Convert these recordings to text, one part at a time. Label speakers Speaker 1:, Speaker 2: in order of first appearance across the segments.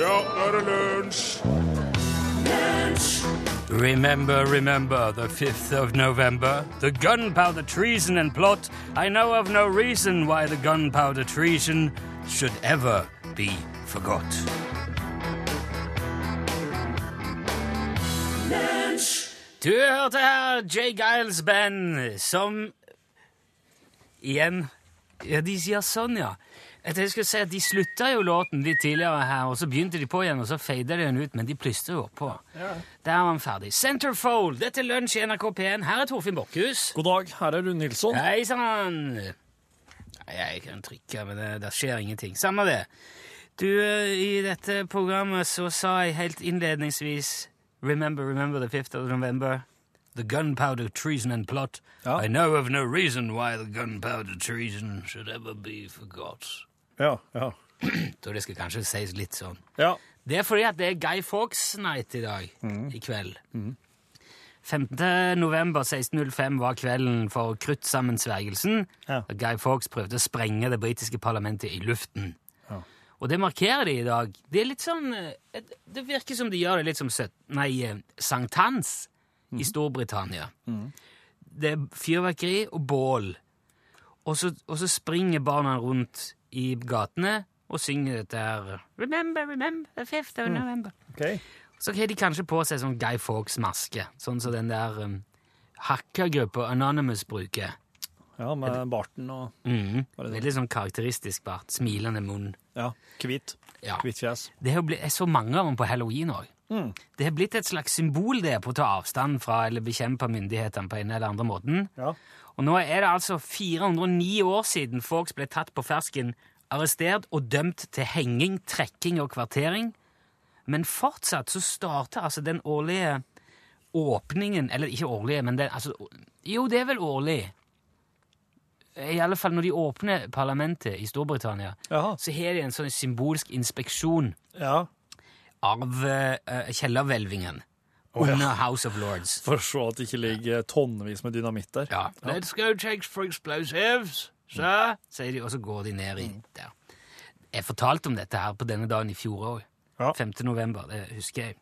Speaker 1: Ja, nå er det lunsj!
Speaker 2: Remember, remember the 5th of November, the gunpowder treason and plot. I know of no reason why the gunpowder treason should ever be forgot. Du hørte her Jay Giles Band som Igjen Ja, de sier sånn, ja. At jeg skulle si at De slutta jo låten litt tidligere her, og så begynte de på igjen, og så fada de den ut, men de plystra jo oppå. Der var den ferdig. Centerfold, dette er Lunsj i NRK P1. Her er Torfinn Borkhus.
Speaker 3: God dag, her er Rune Nilsson.
Speaker 2: Hei sann! Nei, jeg kan trykke, men det, det skjer ingenting. Samme det. Du, eh, i dette programmet så sa jeg helt innledningsvis Remember, remember the 5th of November. The gunpowder treason and plot.
Speaker 3: Ja.
Speaker 2: I know of no reason why the gunpowder treason should ever be forgot.
Speaker 3: Ja, ja.
Speaker 2: Så det skal kanskje sies litt sånn.
Speaker 3: Ja,
Speaker 2: Det er fordi at det er Guy Fawkes Night i dag, i kveld. 15. november 1605 var kvelden for kryttsammensvergelsen.
Speaker 3: Ja.
Speaker 2: og Guy Fawkes prøvde å sprenge det britiske parlamentet i luften. Og det markerer de i dag. Det er litt sånn eh, et- Det virker som de gjør det litt som søt... Nei, eh, sankthans i Storbritannia. Det er fyrverkeri og bål. Og så, og så springer barna rundt i gatene og synger dette her Remember, remember, the 5th of November.
Speaker 3: ok.
Speaker 2: Så har de kanskje på seg sånn Guy Fawkes-maske, sånn som den der um, hackergruppa Anonymous bruker.
Speaker 3: Ja, med barten og
Speaker 2: Mhm.
Speaker 3: Var det det?
Speaker 2: Veldig sånn karakteristisk bart. Smilende munn.
Speaker 3: ja, hvit.
Speaker 2: Ja.
Speaker 3: Hvitt fjes.
Speaker 2: Det har blitt, jeg så mange av dem på halloween òg. Det har blitt et slags symbol det på å ta avstand fra eller bekjempe myndighetene på en eller andre måten.
Speaker 3: Ja.
Speaker 2: Og nå er det altså 409 år siden Fawkes ble tatt på fersken, arrestert og dømt til henging, trekking og kvartering. Men fortsatt så starter altså den årlige åpningen Eller ikke årlige, men den altså, Jo, det er vel årlig. I alle fall når de åpner parlamentet i Storbritannia,
Speaker 3: Jaha.
Speaker 2: så har de en sånn symbolsk inspeksjon
Speaker 3: Ja,
Speaker 2: av eh, kjellerhvelvingen
Speaker 3: Å, ja.
Speaker 2: under House of Lords.
Speaker 3: for å se at det ikke ligger tonnevis med dynamitt der.
Speaker 2: Ja. Let's go check for explosives, sir, sier de, og så går de ned i der. Jeg fortalte om dette her på denne dagen i fjor òg.
Speaker 3: Ja.
Speaker 2: 5. november, det husker jeg.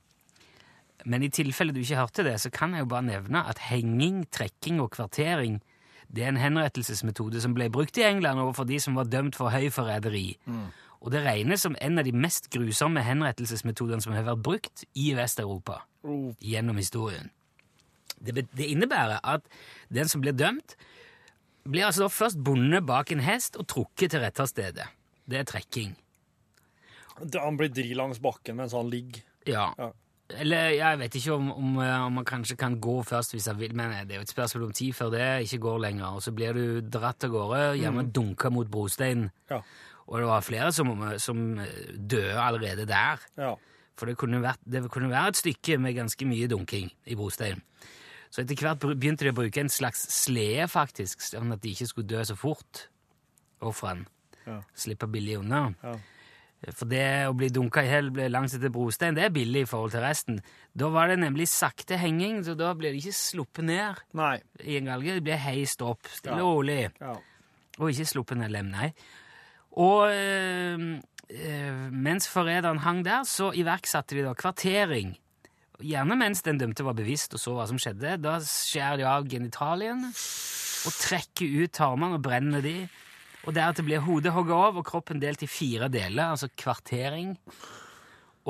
Speaker 2: Men i tilfelle du ikke hørte det, så kan jeg jo bare nevne at henging, trekking og kvartering det er en henrettelsesmetode som ble brukt i England overfor de som var dømt for høyforræderi. Og det regnes som en av de mest grusomme henrettelsesmetodene som har vært brukt i Vest-Europa
Speaker 3: Oh.
Speaker 2: gjennom historien. Det, be- det innebærer at den som blir dømt, blir altså da først bundet bak en hest og trukket til retterstedet. Det er trekking.
Speaker 3: Det- Han blir drill langs bakken mens han ligger.
Speaker 2: Ja.
Speaker 3: Ja.
Speaker 2: Eller jeg vet ikke om, om, eh, om man kanskje kan gå først hvis han vil, men det er jo et spørsmål om tid før det ikke går lenger. Og så blir du dratt av gårde, gjerne dunka mot brosteinen.
Speaker 3: Ja,
Speaker 2: Og det var flere som, som eh, døde allerede der.
Speaker 3: ja.
Speaker 2: For det kunne, vært, det kunne være et stykke med ganske mye dunking i brostein. Så etter hvert bru- begynte de å bruke en slags slede, faktisk, sånn at de ikke skulle dø så fort, ofrene.
Speaker 3: Ja.
Speaker 2: Slippe billig unna.
Speaker 3: Ja.
Speaker 2: For det å bli dunka i hjel langs etter brostein, det er billig i forhold til resten. Da var det nemlig sakte henging, så da ble de ikke sluppet ned
Speaker 3: Nei.
Speaker 2: i en galge. De ble heist opp, stille
Speaker 3: Ja.
Speaker 2: og rolig.
Speaker 3: Ja.
Speaker 2: Og ikke sluppet ned lem, nei. Og eh, eh, mens forræderen hang der, så iverksatte de da kvartering. Gjerne mens den dømte var bevisst og så hva som skjedde. Da skjærer de av genitaliene og trekker ut tarmene og brenner de. Og deretter blir hodet hogget av og kroppen delt i fire deler, altså kvartering.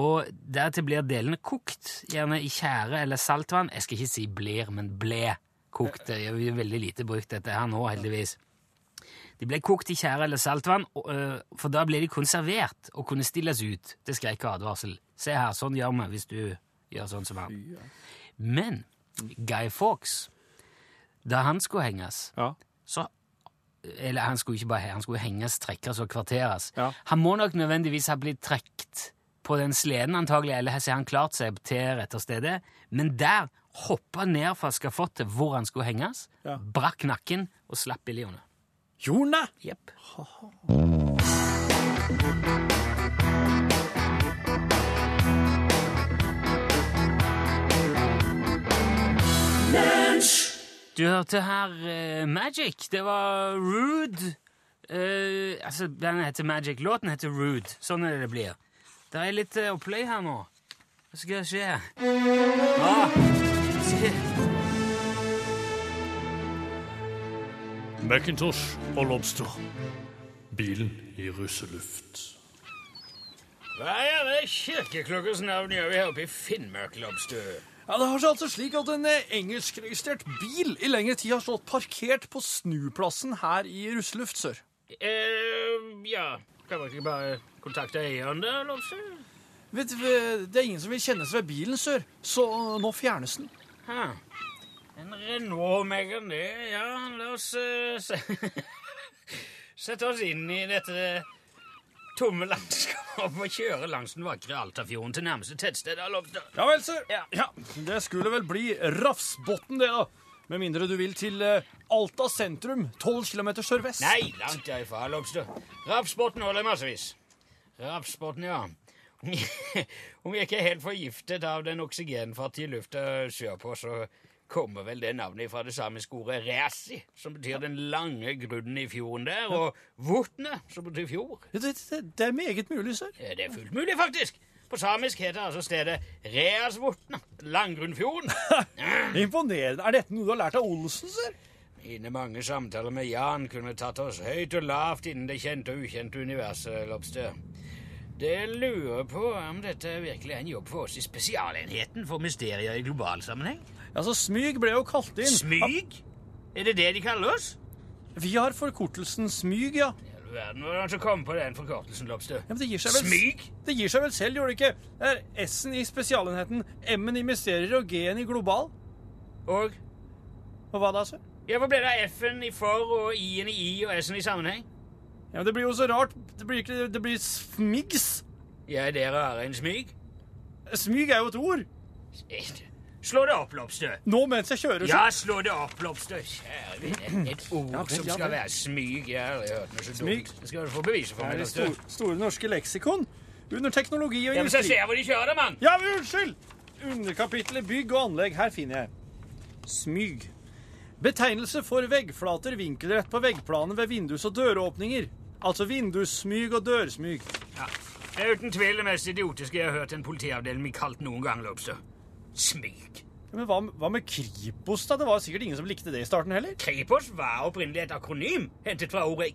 Speaker 2: Og deretter blir delene kokt, gjerne i tjære eller saltvann. Jeg skal ikke si blir, men ble kokt. Det er jo veldig lite brukt dette her nå, heldigvis. De ble kokt i tjære eller saltvann, og, øh, for da ble de konservert og kunne stilles ut til skrekk og advarsel. Se her, sånn gjør vi hvis du gjør sånn som han. Men Guy Fawkes, da han skulle henges,
Speaker 3: Ja.
Speaker 2: så Eller han skulle ikke bare he- han skulle henges, trekkes og kvarteres.
Speaker 3: Ja.
Speaker 2: Han må nok nødvendigvis ha blitt trukket på den sleden, antagelig, eller så har han klart seg til retterstedet. Men der hoppa han ned fra skafottet hvor han skulle henges,
Speaker 3: Ja.
Speaker 2: brakk nakken og slapp billig unna.
Speaker 3: Jorne!
Speaker 2: Jepp. Du hørte her eh, Magic. Det var Rude. Eh, altså, den heter Magic. Låten heter Rude. Sånn er det det blir. Det er litt eh, oppløy her nå. Hva skal skje? Ah, se.
Speaker 4: Macintosh og Lobster. Bilen i russeluft.
Speaker 2: Hva i alle kirkeklokkers navn gjør vi her oppe i Finnmark, Lobster?
Speaker 5: Ja, Det har seg altså slik at en eh, engelskregistrert bil i lengre tid har stått parkert på snuplassen her i russeluft sør.
Speaker 2: Eh, ja Kan man ikke bare kontakte eieren, da, Lobster?
Speaker 5: Vet du, eh, Det er ingen som vil kjennes ved bilen sør, så eh, nå fjernes den.
Speaker 2: Ha. En Renault Megan, det. Ja, la oss eh, se. sette oss inn i dette tomme landskapet og kjøre langs den vakre Altafjorden til nærmeste tettsted. da, Lobster.
Speaker 5: Ja vel, sør.
Speaker 2: Ja.
Speaker 5: Ja, Det skulle vel bli Rafsbotn, det, da. Med mindre du vil til eh, Alta sentrum, 12 km sørvest.
Speaker 2: Nei, langt derifra, Lobster. Rapsbotn holder massevis. Rapsbotn, ja. Om jeg ikke er helt forgiftet av den oksygenfattige lufta sørpå, så kommer vel det navnet fra det samiske ordet ræsi, som betyr den lange grunnen i fjorden der, og votne, som betyr fjord.
Speaker 5: Det, det, det, det er meget mulig, sør.
Speaker 2: Ja, Det er fullt mulig, faktisk. På samisk heter altså stedet Reasvotna, Langgrunnfjorden.
Speaker 5: Imponerende. Er dette noe du har lært av Olsen, sør?
Speaker 2: Mine mange samtaler med Jan kunne tatt oss høyt og lavt innen det kjente og ukjente universet, Lobster. Det jeg lurer på er om dette virkelig er en jobb for oss i Spesialenheten for mysterier i global sammenheng.
Speaker 5: Ja, så Smyg ble jo kalt inn.
Speaker 2: Smyg? Er det det de kaller oss?
Speaker 5: Vi har forkortelsen Smyg, ja.
Speaker 2: I all verden, hvordan så kom på den forkortelsen, Lobster?
Speaker 5: ja men det gir seg vel...
Speaker 2: Smyg?
Speaker 5: Det gir seg vel selv, gjør det ikke? Det er S-en i spesialenheten, M-en i mysterier og G-en i global.
Speaker 2: Og
Speaker 5: Og hva da, sør?
Speaker 2: ja, hvor ble det av F-en i for og I-en i I og S-en i sammenheng?
Speaker 5: Ja, men det blir jo så rart. Det blir, ikke, det blir smigs.
Speaker 2: Jeg der har en smyg.
Speaker 5: Smyg er jo et ord.
Speaker 2: Slå det opp, Lobster.
Speaker 5: Nå mens jeg kjører, så...
Speaker 2: Ja, slå det opp, Lobster. Kjære vene. Et ord
Speaker 5: vel,
Speaker 2: som
Speaker 5: ja
Speaker 2: skal
Speaker 5: vel.
Speaker 2: være smyg. Jeg har aldri hørt noe så
Speaker 5: Smyg.
Speaker 2: dumt. Det skal du få bevise for
Speaker 5: Er
Speaker 2: meg,
Speaker 5: det
Speaker 2: Lobster.
Speaker 5: stor, store norske leksikon? Under teknologi og
Speaker 2: Ja, men så
Speaker 5: industri.
Speaker 2: ser jeg hvor de kjører, mann.
Speaker 5: Ja, men unnskyld! Underkapitlet bygg og anlegg. Her finner jeg smyg. Betegnelse for veggflater vinkelrett på veggplanen ved vindus- og døråpninger. Altså vindussmyg og dørsmyg.
Speaker 2: Det er uten tvil det mest idiotiske jeg har hørt en politiavdeling bli kalt noen gang, Lobster. Smyg.
Speaker 5: Ja, Men hva, hva med Kripos, da? Det var sikkert ingen som likte det i starten heller.
Speaker 2: Kripos var opprinnelig et akronym hentet fra ordet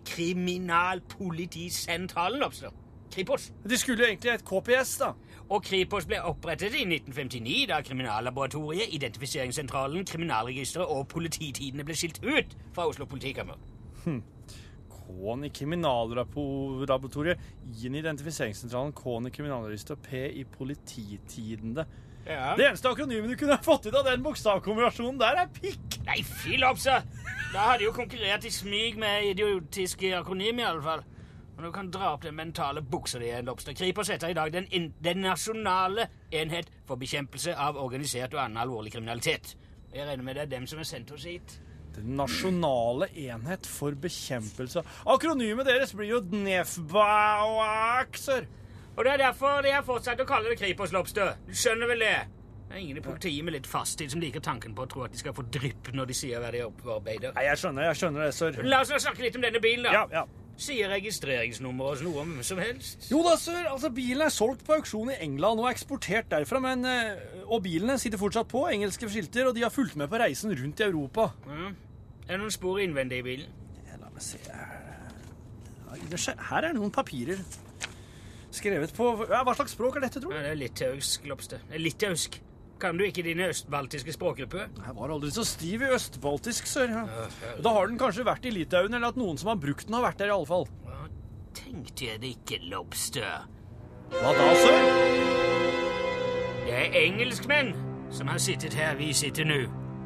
Speaker 2: Kriminalpolitisentralen, Lobster. Kripos.
Speaker 5: De skulle jo egentlig hett KPS, da.
Speaker 2: Og Kripos ble opprettet i 1959 da Kriminallaboratoriet, Identifiseringssentralen, Kriminalregisteret og polititidene ble skilt ut fra Oslo politikammer.
Speaker 5: K-en i Kriminallaboratoriet, I-en i Identifiseringssentralen, K-en i Kriminalregisteret og P i Polititidende.
Speaker 2: Ja.
Speaker 5: Det eneste akronymet du kunne ha fått ut av den bokstavkombinasjonen der, er pikk!
Speaker 2: Nei, Philopsa! Da hadde jo konkurrert i smyg med idiotiske akronym i alle fall. Og du kan dra opp den mentale buksa di igjen, Lobster. Kripos heter i dag den, in den nasjonale enhet for bekjempelse av organisert og annen alvorlig kriminalitet. Og Jeg regner med det er dem som har sendt oss hit.
Speaker 5: Den nasjonale enhet for bekjempelse Akronymet deres blir jo E NEFBAOAK, sir.
Speaker 2: Og det er derfor de har fortsatt å kalle det Kripos, Lobster. Du skjønner vel det? Det er ingen i politiet med litt fasttid som liker tanken på å tro at de skal få drypp når de sier hva de opparbeider.
Speaker 5: Nei, jeg skjønner, jeg skjønner det, sir.
Speaker 2: La oss nå snakke litt om denne bilen, da.
Speaker 5: Ja, ja.
Speaker 2: Sier registreringsnummeret oss noe om hvem som helst?
Speaker 5: Jo da, sir. Altså, bilen er solgt på auksjon i England og er eksportert derfra, men eh, Og bilene sitter fortsatt på engelske skilter, og de har fulgt med på reisen rundt i Europa.
Speaker 2: Ja. Er det noen spor innvendig i bilen?
Speaker 5: Ja, La meg se her. Ja, det skje- Her er noen papirer. Skrevet på ja, Hva slags språk er dette, tror du?
Speaker 2: Ja, det er litauisk, Lopstø. Det er Litauisk. Kan du ikke dine østbaltiske språkgrupper?
Speaker 5: Jeg var aldri så stiv i østbaltisk, sir. Da har den kanskje vært i Litauen, eller at noen som har brukt den, har vært der, i alle fall.
Speaker 2: Ja, tenkte jeg det ikke, Lopstø.
Speaker 5: Hva da, sir?
Speaker 2: Det er engelskmenn som har sittet her vi sitter nå.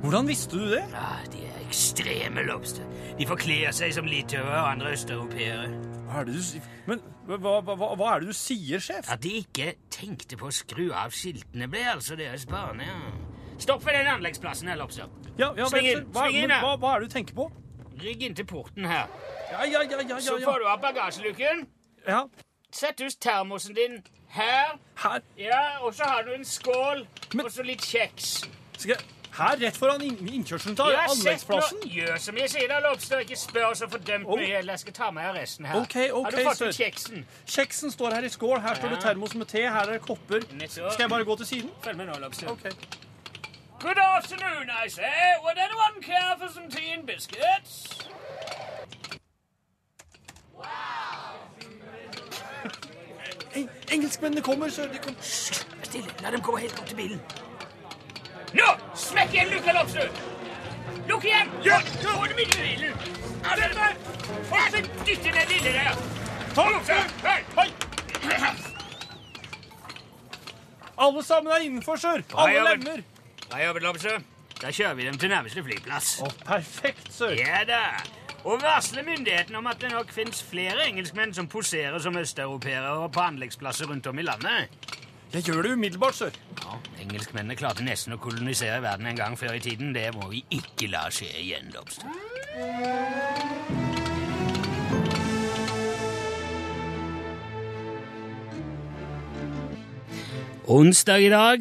Speaker 5: Hvordan visste du det?
Speaker 2: Ja, de er ekstreme, Lopstø. De forkler seg som litauere og andre østeuropeere.
Speaker 5: Hva er det du sier? Men hva, hva, hva, hva er det du sier, sjef?
Speaker 2: At de ikke tenkte på å skru av skiltene, ble altså deres bane. Ja. Stopp ved den anleggsplassen her, Lopstø.
Speaker 5: Ja, ja,
Speaker 2: Sving
Speaker 5: men,
Speaker 2: inn,
Speaker 5: hva,
Speaker 2: sving inn,
Speaker 5: men,
Speaker 2: ja.
Speaker 5: hva, hva er det du tenker på?
Speaker 2: Rygg inntil porten her.
Speaker 5: Ja, ja, ja, ja, ja,
Speaker 2: Så
Speaker 5: ja.
Speaker 2: får du opp bagasjeluken.
Speaker 5: ja.
Speaker 2: Sett ut termosen din her.
Speaker 5: Her
Speaker 2: Ja, og så har du en skål
Speaker 5: Men-
Speaker 2: og så litt kjeks.
Speaker 5: skal jeg Her rett foran inn- innkjørselen til
Speaker 6: Jeg har sett
Speaker 5: anleggsplassen.
Speaker 6: noe- Gjør som jeg sier, da, Lobster. Ikke spør så fordømt
Speaker 5: Oh.
Speaker 6: mye. Jeg skal ta med deg resten her.
Speaker 5: Ok, ok,
Speaker 6: har du fått ut
Speaker 5: sir.
Speaker 6: kjeksen?
Speaker 5: Kjeksen står her i skål. Her står det termos med te. Her er det kopper.
Speaker 6: Nettopp.
Speaker 5: Skal jeg bare gå til siden?
Speaker 6: Følg med nå, Lobster.
Speaker 5: Ok.
Speaker 6: Good afternoon, I say. Would anyone care for some tea and biscuits?
Speaker 5: Eng engelskmennene kommer, sir. De kom.
Speaker 2: Stille, la dem komme helt opp til bilen.
Speaker 6: Nå! Smekk igjen luka, Lobster! Lukk igjen! Ja! Få dem inn i bilen! Er dere med? Og så dytte den lille der. Ta Lobster! Hei! Hei!
Speaker 5: Alle sammen er innenfor, sir. Alle
Speaker 6: ja, men-
Speaker 5: lemmer.
Speaker 6: Hei, Abed Lobster. Da kjører vi dem til nærmeste flyplass.
Speaker 5: Å, perfekt, sir.
Speaker 6: Ja da. Og varsle myndighetene om at det nok fins flere engelskmenn som poserer som østeuropeere og på anleggsplasser rundt om i landet.
Speaker 5: Jeg gjør det umiddelbart, sir.
Speaker 2: Ja, engelskmennene klarte nesten å kolonisere verden en gang før i tiden. Det må vi ikke la skje igjen, Lobster. Onsdag i dag.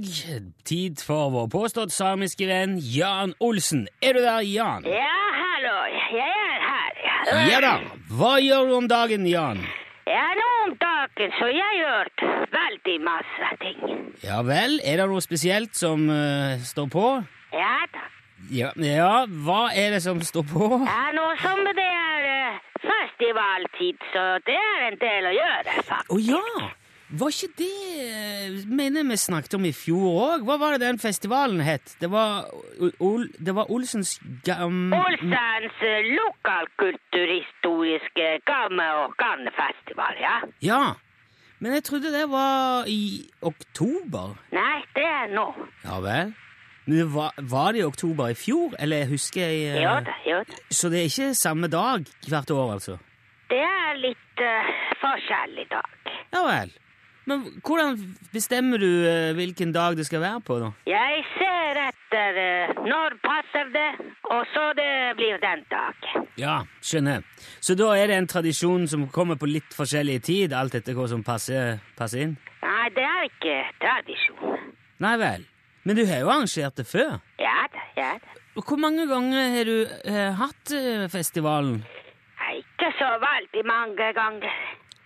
Speaker 2: Tid for vår påstått samiske venn Jan Olsen. Er du der, Jan?
Speaker 7: Ja, hallo. Jeg er her.
Speaker 2: Ja da. Hva gjør du om dagen, Jan?
Speaker 7: Ja, noen dager så jeg gjort veldig masse ting.
Speaker 2: Ja vel, er det noe spesielt som eh, står på?
Speaker 7: Ja da.
Speaker 2: Ja, ja, hva er det som står på?
Speaker 7: Ja, nå som det er eh, festivaltid, så det er en del å gjøre,
Speaker 2: Å
Speaker 7: faktisk.
Speaker 2: ja! Var ikke det eh, mener jeg vi snakket om i fjor òg? Hva var det den festivalen het? Det var, O- Ol, det var Olsens gam...
Speaker 7: Olsens eh, lokalkulturhistoriske gamme- og kannefestival, ja.
Speaker 2: Ja. Men jeg trodde det var i oktober.
Speaker 7: Nei, det er nå.
Speaker 2: Ja vel? Men det var, var det i oktober i fjor? Eller husker jeg eh,
Speaker 7: Jo da, jo da.
Speaker 2: Så det er ikke samme dag hvert år, altså?
Speaker 7: Det er litt eh, forskjellig dag.
Speaker 2: Ja vel. Men hvordan bestemmer du eh, hvilken dag det skal være på, da?
Speaker 7: Jeg ser etter eh, når passer det, og så det blir den dagen.
Speaker 2: Ja, skjønner. Så da er det en tradisjon som kommer på litt forskjellig tid, alt etter hva som passer, passer inn?
Speaker 7: Nei, det er ikke tradisjon.
Speaker 2: Nei vel. Men du har jo arrangert det før.
Speaker 7: Ja da, ja da.
Speaker 2: Og hvor mange ganger har du eh, hatt eh, festivalen?
Speaker 7: Nei, Ikke så veldig mange ganger.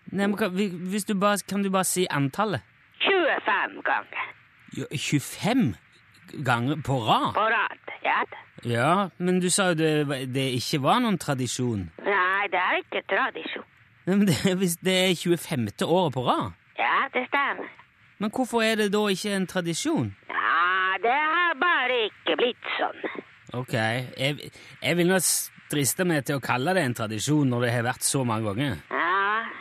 Speaker 2: Nei, men kan, vi- hvis du bare, kan du bare si antallet?
Speaker 7: 25 ganger
Speaker 2: Jo, 25 ganger på rad?
Speaker 7: på rad. Ja da.
Speaker 2: Ja, men du sa jo det, det ikke var noen tradisjon.
Speaker 7: Nei, det er ikke tradisjon.
Speaker 2: Nei, Men det, hvis det er 25. året på rad,
Speaker 7: Ja, det stemmer.
Speaker 2: men hvorfor er det da ikke en tradisjon?
Speaker 7: Ja, det har bare ikke blitt sånn.
Speaker 2: Ok, jeg, jeg vil nå s- driste meg til å kalle det en tradisjon når det har vært så mange ganger.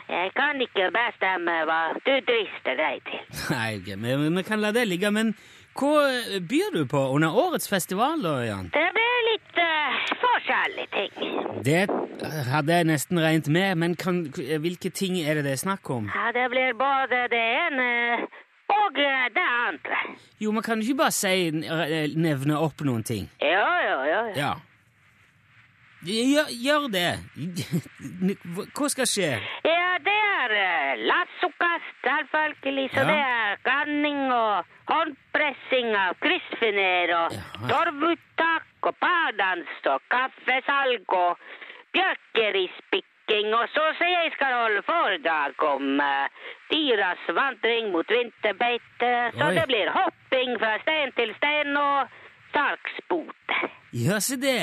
Speaker 7: Ja, jeg kan ikke bestemme hva du drister deg til.
Speaker 2: Nei, ok, men men vi kan la det ligge, men hva eh, byr du på under årets festival da, Jan?
Speaker 7: Det blir litt eh, forskjellige ting.
Speaker 2: Det hadde jeg nesten regnet med, men kan, eh, hvilke ting er det det er snakk om?
Speaker 7: Ja, det blir både det ene og eh, det andre.
Speaker 2: Jo, man kan jo ikke bare si, eh, nevne opp noen ting.
Speaker 7: Jo, jo, jo. jo.
Speaker 2: Ja. Gjør, gjør det. Hva skal skje?
Speaker 7: Ja, det er eh, lassokast, selvfølgelig. Så
Speaker 2: Ja.
Speaker 7: det er ganning og håndpressing av kryssfiner og
Speaker 2: Jaha.
Speaker 7: torvuttak og pardans og kaffesalg og bjørkerispikking. Og så så jeg skal holde foredrag om eh, dyras vandring mot vinterbeite. Så
Speaker 2: Oi.
Speaker 7: det blir hopping fra stein til stein og sargsbote.
Speaker 2: Gjør se det.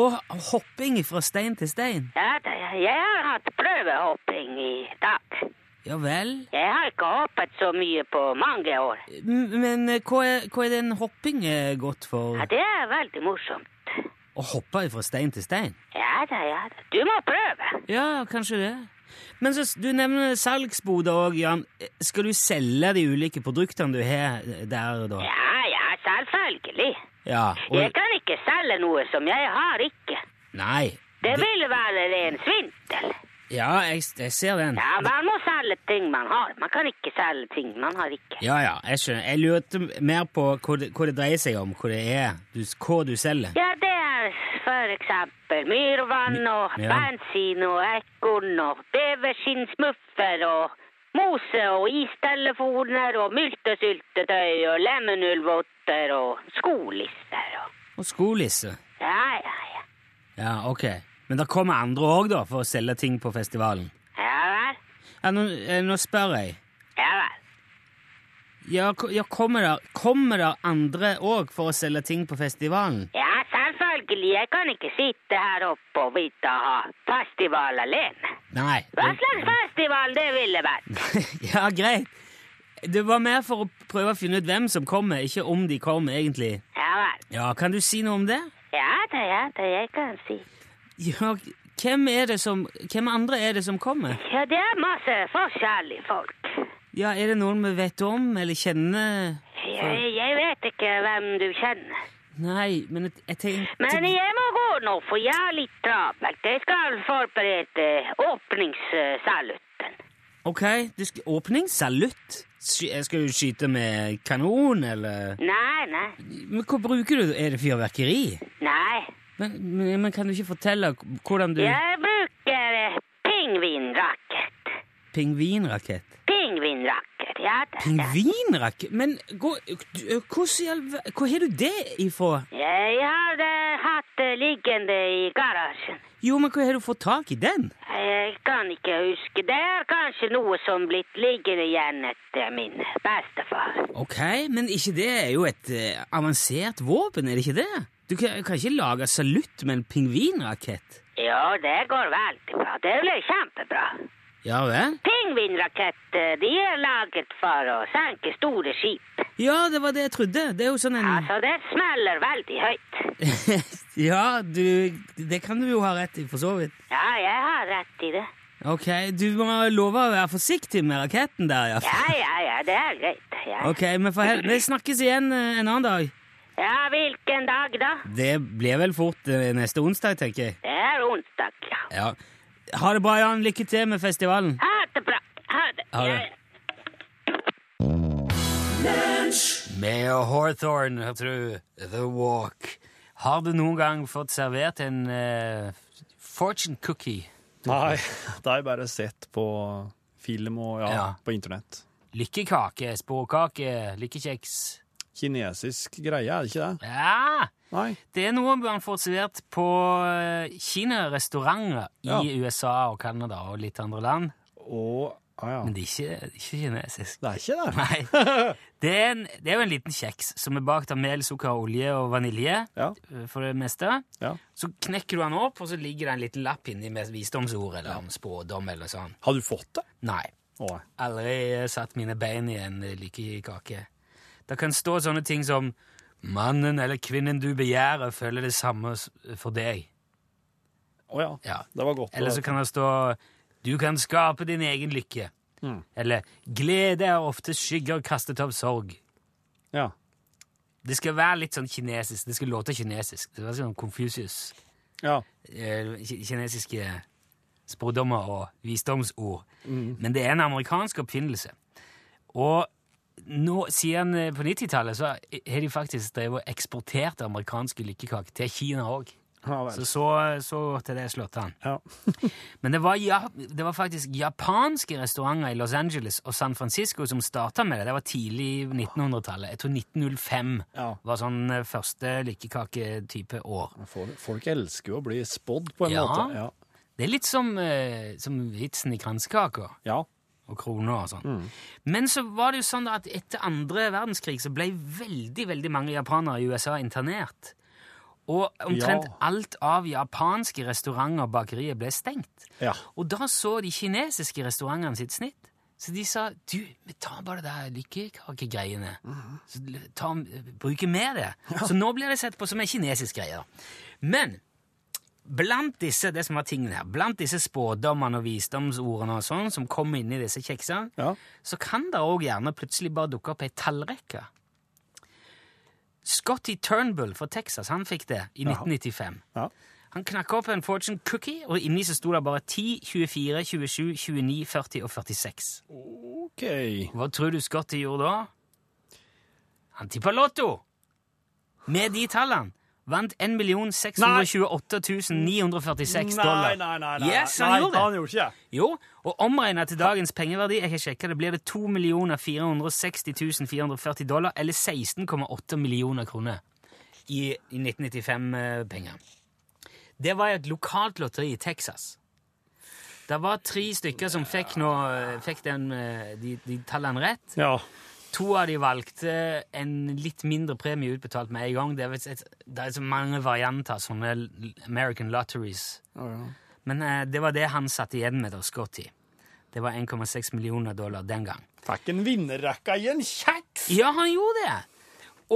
Speaker 2: Og hopping fra stein til stein.
Speaker 7: Ja, da, jeg har hatt prøvehopping i dag.
Speaker 2: Ja vel.
Speaker 7: Jeg har ikke hoppet så mye på mange år.
Speaker 2: M- Men eh, hva er, hva er den hopping eh, godt for?
Speaker 7: Ja, det er veldig morsomt.
Speaker 2: Å hoppe fra stein til stein?
Speaker 7: Ja da, ja da. Du må prøve.
Speaker 2: Ja, kanskje det. Men så, s- du nevner salgsboder òg, Jan. Eh, Skal du selge de ulike produktene du har eh, der, da?
Speaker 7: Ja, ja, selvfølgelig.
Speaker 2: Ja.
Speaker 7: Jeg
Speaker 2: Og,
Speaker 7: kan ikke selge noe som jeg har ikke.
Speaker 2: nei.
Speaker 7: Det vil være en svindel.
Speaker 2: Ja, jeg, s- jeg ser den.
Speaker 7: Ja, man må selge ting man har. Man kan ikke selge ting man har ikke.
Speaker 2: Ja, ja, jeg skjønner. Jeg lurte mer på hva det, hva det dreier seg om, hva det er, du, s- hva du selger.
Speaker 7: Ja, det er for eksempel myrvann og
Speaker 2: Ja.
Speaker 7: bensin og ekorn og beverskinnsmuffer og mose og istelefoner og multesyltetøy og lemonulvotter og skolisser og
Speaker 2: Og skolisse.
Speaker 7: Ja, ja, ja.
Speaker 2: Ja, ok. Men det kommer andre òg, da, for å selge ting på festivalen?
Speaker 7: Ja vel.
Speaker 2: Ja, nå, eh, nå spør jeg.
Speaker 7: Ja vel.
Speaker 2: Ja, ko- ja kommer der, kommer der andre òg for å selge ting på festivalen?
Speaker 7: Ja, selvfølgelig. Jeg kan ikke sitte her oppe og vite å ha festival alene.
Speaker 2: Nei.
Speaker 7: Hva slags festival det ville vært?
Speaker 2: ja, greit. Det var mer for å prøve å finne ut hvem som kommer, ikke om de kommer, egentlig.
Speaker 7: Ja vel.
Speaker 2: Ja, Kan du si noe om det?
Speaker 7: Ja da, ja da, jeg kan si.
Speaker 2: Ja, hvem er det som Hvem andre er det som kommer?
Speaker 7: Ja, det er masse forskjellige folk.
Speaker 2: Ja, Er det noen vi vet om eller kjenner?
Speaker 7: Jeg, jeg vet ikke hvem du kjenner.
Speaker 2: Nei, men jeg, jeg tenkte
Speaker 7: Men jeg må gå nå, for jeg er litt travelt. Jeg skal forberede åpningssalutten.
Speaker 2: Ok, du skal, åpning, salutt. Sky, jeg skal du skyte med kanon, eller
Speaker 7: Nei, nei,
Speaker 2: Men hva bruker du? Er det fyrverkeri?
Speaker 7: nei.
Speaker 2: Men, men, men kan du ikke fortelle k- hvordan du
Speaker 7: Jeg bruker eh, pingvinrakett.
Speaker 2: Pingvinrakett.
Speaker 7: Pingvinrakett, ja da. ja.
Speaker 2: Pingvinrakett? Men gå, du- hvordan i all ver- Hvor har du det ifra?
Speaker 7: Jeg har eh, hatt det liggende i garasjen.
Speaker 2: Jo, men hvor har du fått tak i den?
Speaker 7: Jeg kan ikke huske. Det er kanskje noe som blitt liggende igjen etter min bestefar.
Speaker 2: Ok, men ikke det er jo et eh, avansert våpen, er det ikke det? Du kan, kan ikke lage salutt med en pingvinrakett.
Speaker 7: Jo, det går veldig bra. Det blir kjempebra.
Speaker 2: Ja vel?
Speaker 7: Pingvinraketter, de er laget for å senke store skip.
Speaker 2: Ja, det var det jeg trodde. Det er jo sånn en
Speaker 7: Altså, det smeller veldig høyt.
Speaker 2: ja, du, det kan du jo ha rett i, for så vidt.
Speaker 7: Ja, jeg har rett i det.
Speaker 2: Ok, du må love å være forsiktig med raketten der, ja.
Speaker 7: Ja, ja, ja, det er greit. Ja,
Speaker 2: Ok, men for hel... Vi snakkes igjen eh, en annen dag.
Speaker 7: ja hvilken dag da?
Speaker 2: Det blir vel fort eh, neste onsdag, tenker jeg.
Speaker 7: Det er onsdag, ja.
Speaker 2: Ja. Ha det bra, Jan. Lykke til med festivalen.
Speaker 7: Ha det bra. Ha det.
Speaker 2: Ha det.
Speaker 7: Ja, ja.
Speaker 2: Mayor Hawthorne, hørte du. The Walk. Har du noen gang fått servert en eh, fortune cookie?
Speaker 5: Nei, det har jeg bare sett på film og ja,
Speaker 2: Ja.
Speaker 5: på internett.
Speaker 2: Lykkekake, sporkake, lykkekjeks.
Speaker 5: Kinesisk greie, er det ikke det?
Speaker 2: Ja!
Speaker 5: Nei.
Speaker 2: Det er noe man får servert på eh, kinarestauranter i
Speaker 5: Ja.
Speaker 2: USA og Canada og litt andre land,
Speaker 5: Og, ah, ja.
Speaker 2: men det er ikke, det er ikke kinesisk.
Speaker 5: Det er ikke det.
Speaker 2: Nei. Det er, en, det er jo en liten kjeks som er bakt av mel, sukker, olje og vanilje.
Speaker 5: Ja.
Speaker 2: eh, For det meste.
Speaker 5: Ja.
Speaker 2: Så knekker du den opp, og så ligger det en liten lapp inni med visdomsord eller om spådom eller sånn.
Speaker 5: Har du fått det?
Speaker 2: Nei.
Speaker 5: Å, nei.
Speaker 2: Aldri eh, satt mine bein i en eh, lykkekake. Det kan stå sånne ting som Mannen eller kvinnen du begjærer, føler det samme s- for deg.
Speaker 5: Å ja.
Speaker 2: Ja.
Speaker 5: Det var godt. å-
Speaker 2: Eller så kan det stå Du kan skape din egen lykke. Eller Glede er ofte skygger kastet av sorg.
Speaker 5: ja.
Speaker 2: Det skal være litt sånn kinesisk. Det skal låte kinesisk. Det var sånn Confucius.
Speaker 5: ja.
Speaker 2: eh, ki- Kinesiske spådommer og visdomsord. Men det er en amerikansk oppfinnelse. Og nå, siden eh, på 90-tallet så har de faktisk drevet og eksportert amerikanske lykkekaker til Kina òg.
Speaker 5: Ja,
Speaker 2: Så,
Speaker 5: vel.
Speaker 2: så så til det slått an.
Speaker 5: Ja.
Speaker 2: Men det var, ja, det var faktisk japanske restauranter i Los Angeles og San Francisco som starta med det. Det var tidlig 1900-tallet. Jeg tror 1905
Speaker 5: Ja.
Speaker 2: var sånn eh, første lykkekaketype år.
Speaker 5: Folk, folk elsker jo å bli spådd på en
Speaker 2: Ja.
Speaker 5: måte. Ja.
Speaker 2: Det er litt som, eh, som vitsen i kransekaka
Speaker 5: ja.
Speaker 2: og kroner og sånn.
Speaker 5: Mm.
Speaker 2: Men så var det jo sånn da at etter andre verdenskrig så ble veldig, veldig mange japanere i USA internert. Og omtrent
Speaker 5: Ja.
Speaker 2: alt av japanske restauranter og bakerier ble stengt.
Speaker 5: Ja.
Speaker 2: Og da så de kinesiske restaurantene sitt snitt. Så de sa du, vi tar bare det der lykkekakegreiene. Så l- ta, bruker mer det. Så nå blir det sett på som en kinesisk greie. da. Men blant disse det som var tingen her, blant disse spådommene og visdomsordene og sånn som kom inn i disse kjeksene,
Speaker 5: Ja.
Speaker 2: så kan det òg gjerne plutselig bare dukke opp ei tallrekke. Scotty Turnbull fra Texas han fikk det i 1995.
Speaker 5: Ja.
Speaker 2: Han knakk opp en fortune cookie, og inni så sto det bare 10, 24, 27, 29, 40 og 46.
Speaker 5: OK.
Speaker 2: Hva tror du Scotty gjorde da? Han tippa lotto! Med de tallene vant 1 628 946
Speaker 5: Nei,
Speaker 2: dollar.
Speaker 5: nei, nei. nei.
Speaker 2: Yes, han
Speaker 5: nei,
Speaker 2: gjorde det.
Speaker 5: Han gjorde ikke det.
Speaker 2: Jo, og omregna til dagens pengeverdi jeg har sjekket det, blir det 2 460 440 dollar, eller 16,8 millioner kroner. i 1995-penger. Det var et lokalt lotteri i Texas. Det var tre stykker som fikk, nå, fikk den, eh, de, de tallene rett.
Speaker 5: Ja.
Speaker 2: To av de valgte en litt mindre premie utbetalt med en gang. Det er, vel et, det er så mange varianter av sånne l- American Lotteries. Men eh, det var det han satt igjen med, da, Scotty. Det var 1,6 millioner dollar den gang.
Speaker 5: Fikk en vinnerrekka i en kjeks!
Speaker 2: Ja, han gjorde det!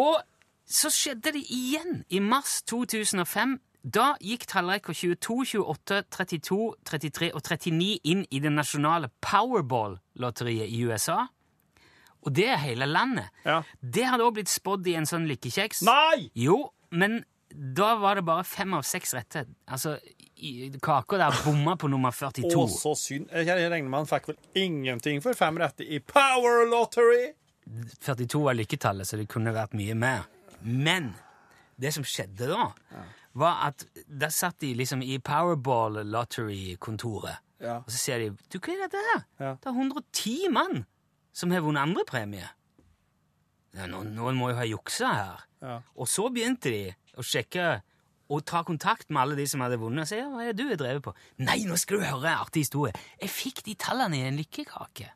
Speaker 2: Og så skjedde det igjen i mars 2005. Da gikk tallrekka 22, 28, 32, 33 og 39 inn i det nasjonale Powerball-lotteriet i USA. Og det er hele landet.
Speaker 5: Ja.
Speaker 2: Det hadde også blitt spådd i en sånn lykkekjeks.
Speaker 5: Nei!
Speaker 2: Jo, men da var det bare fem av seks rette. Altså, i- kaka der bomma på nummer 42.
Speaker 5: Å, så synd. Jeg jeg regner med han fikk vel ingenting for fem rette i Power Lottery.
Speaker 2: 42 var lykketallet, så det kunne vært mye mer. Men det som skjedde da, var at der satt de liksom i Powerball Lottery-kontoret.
Speaker 5: Ja.
Speaker 2: Og så ser de Du, hva er dette her?
Speaker 5: Ja.
Speaker 2: Det er 110 mann som har vunnet andre premie. Ja, nå, noen må jo ha juksa her.
Speaker 5: Ja.
Speaker 2: Og så begynte de å sjekke og ta kontakt med alle de som hadde vunnet. Og si, ja, hva er det du har drevet på? Nei, nå skal du høre en artig historie. Jeg fikk de tallene i en lykkekake.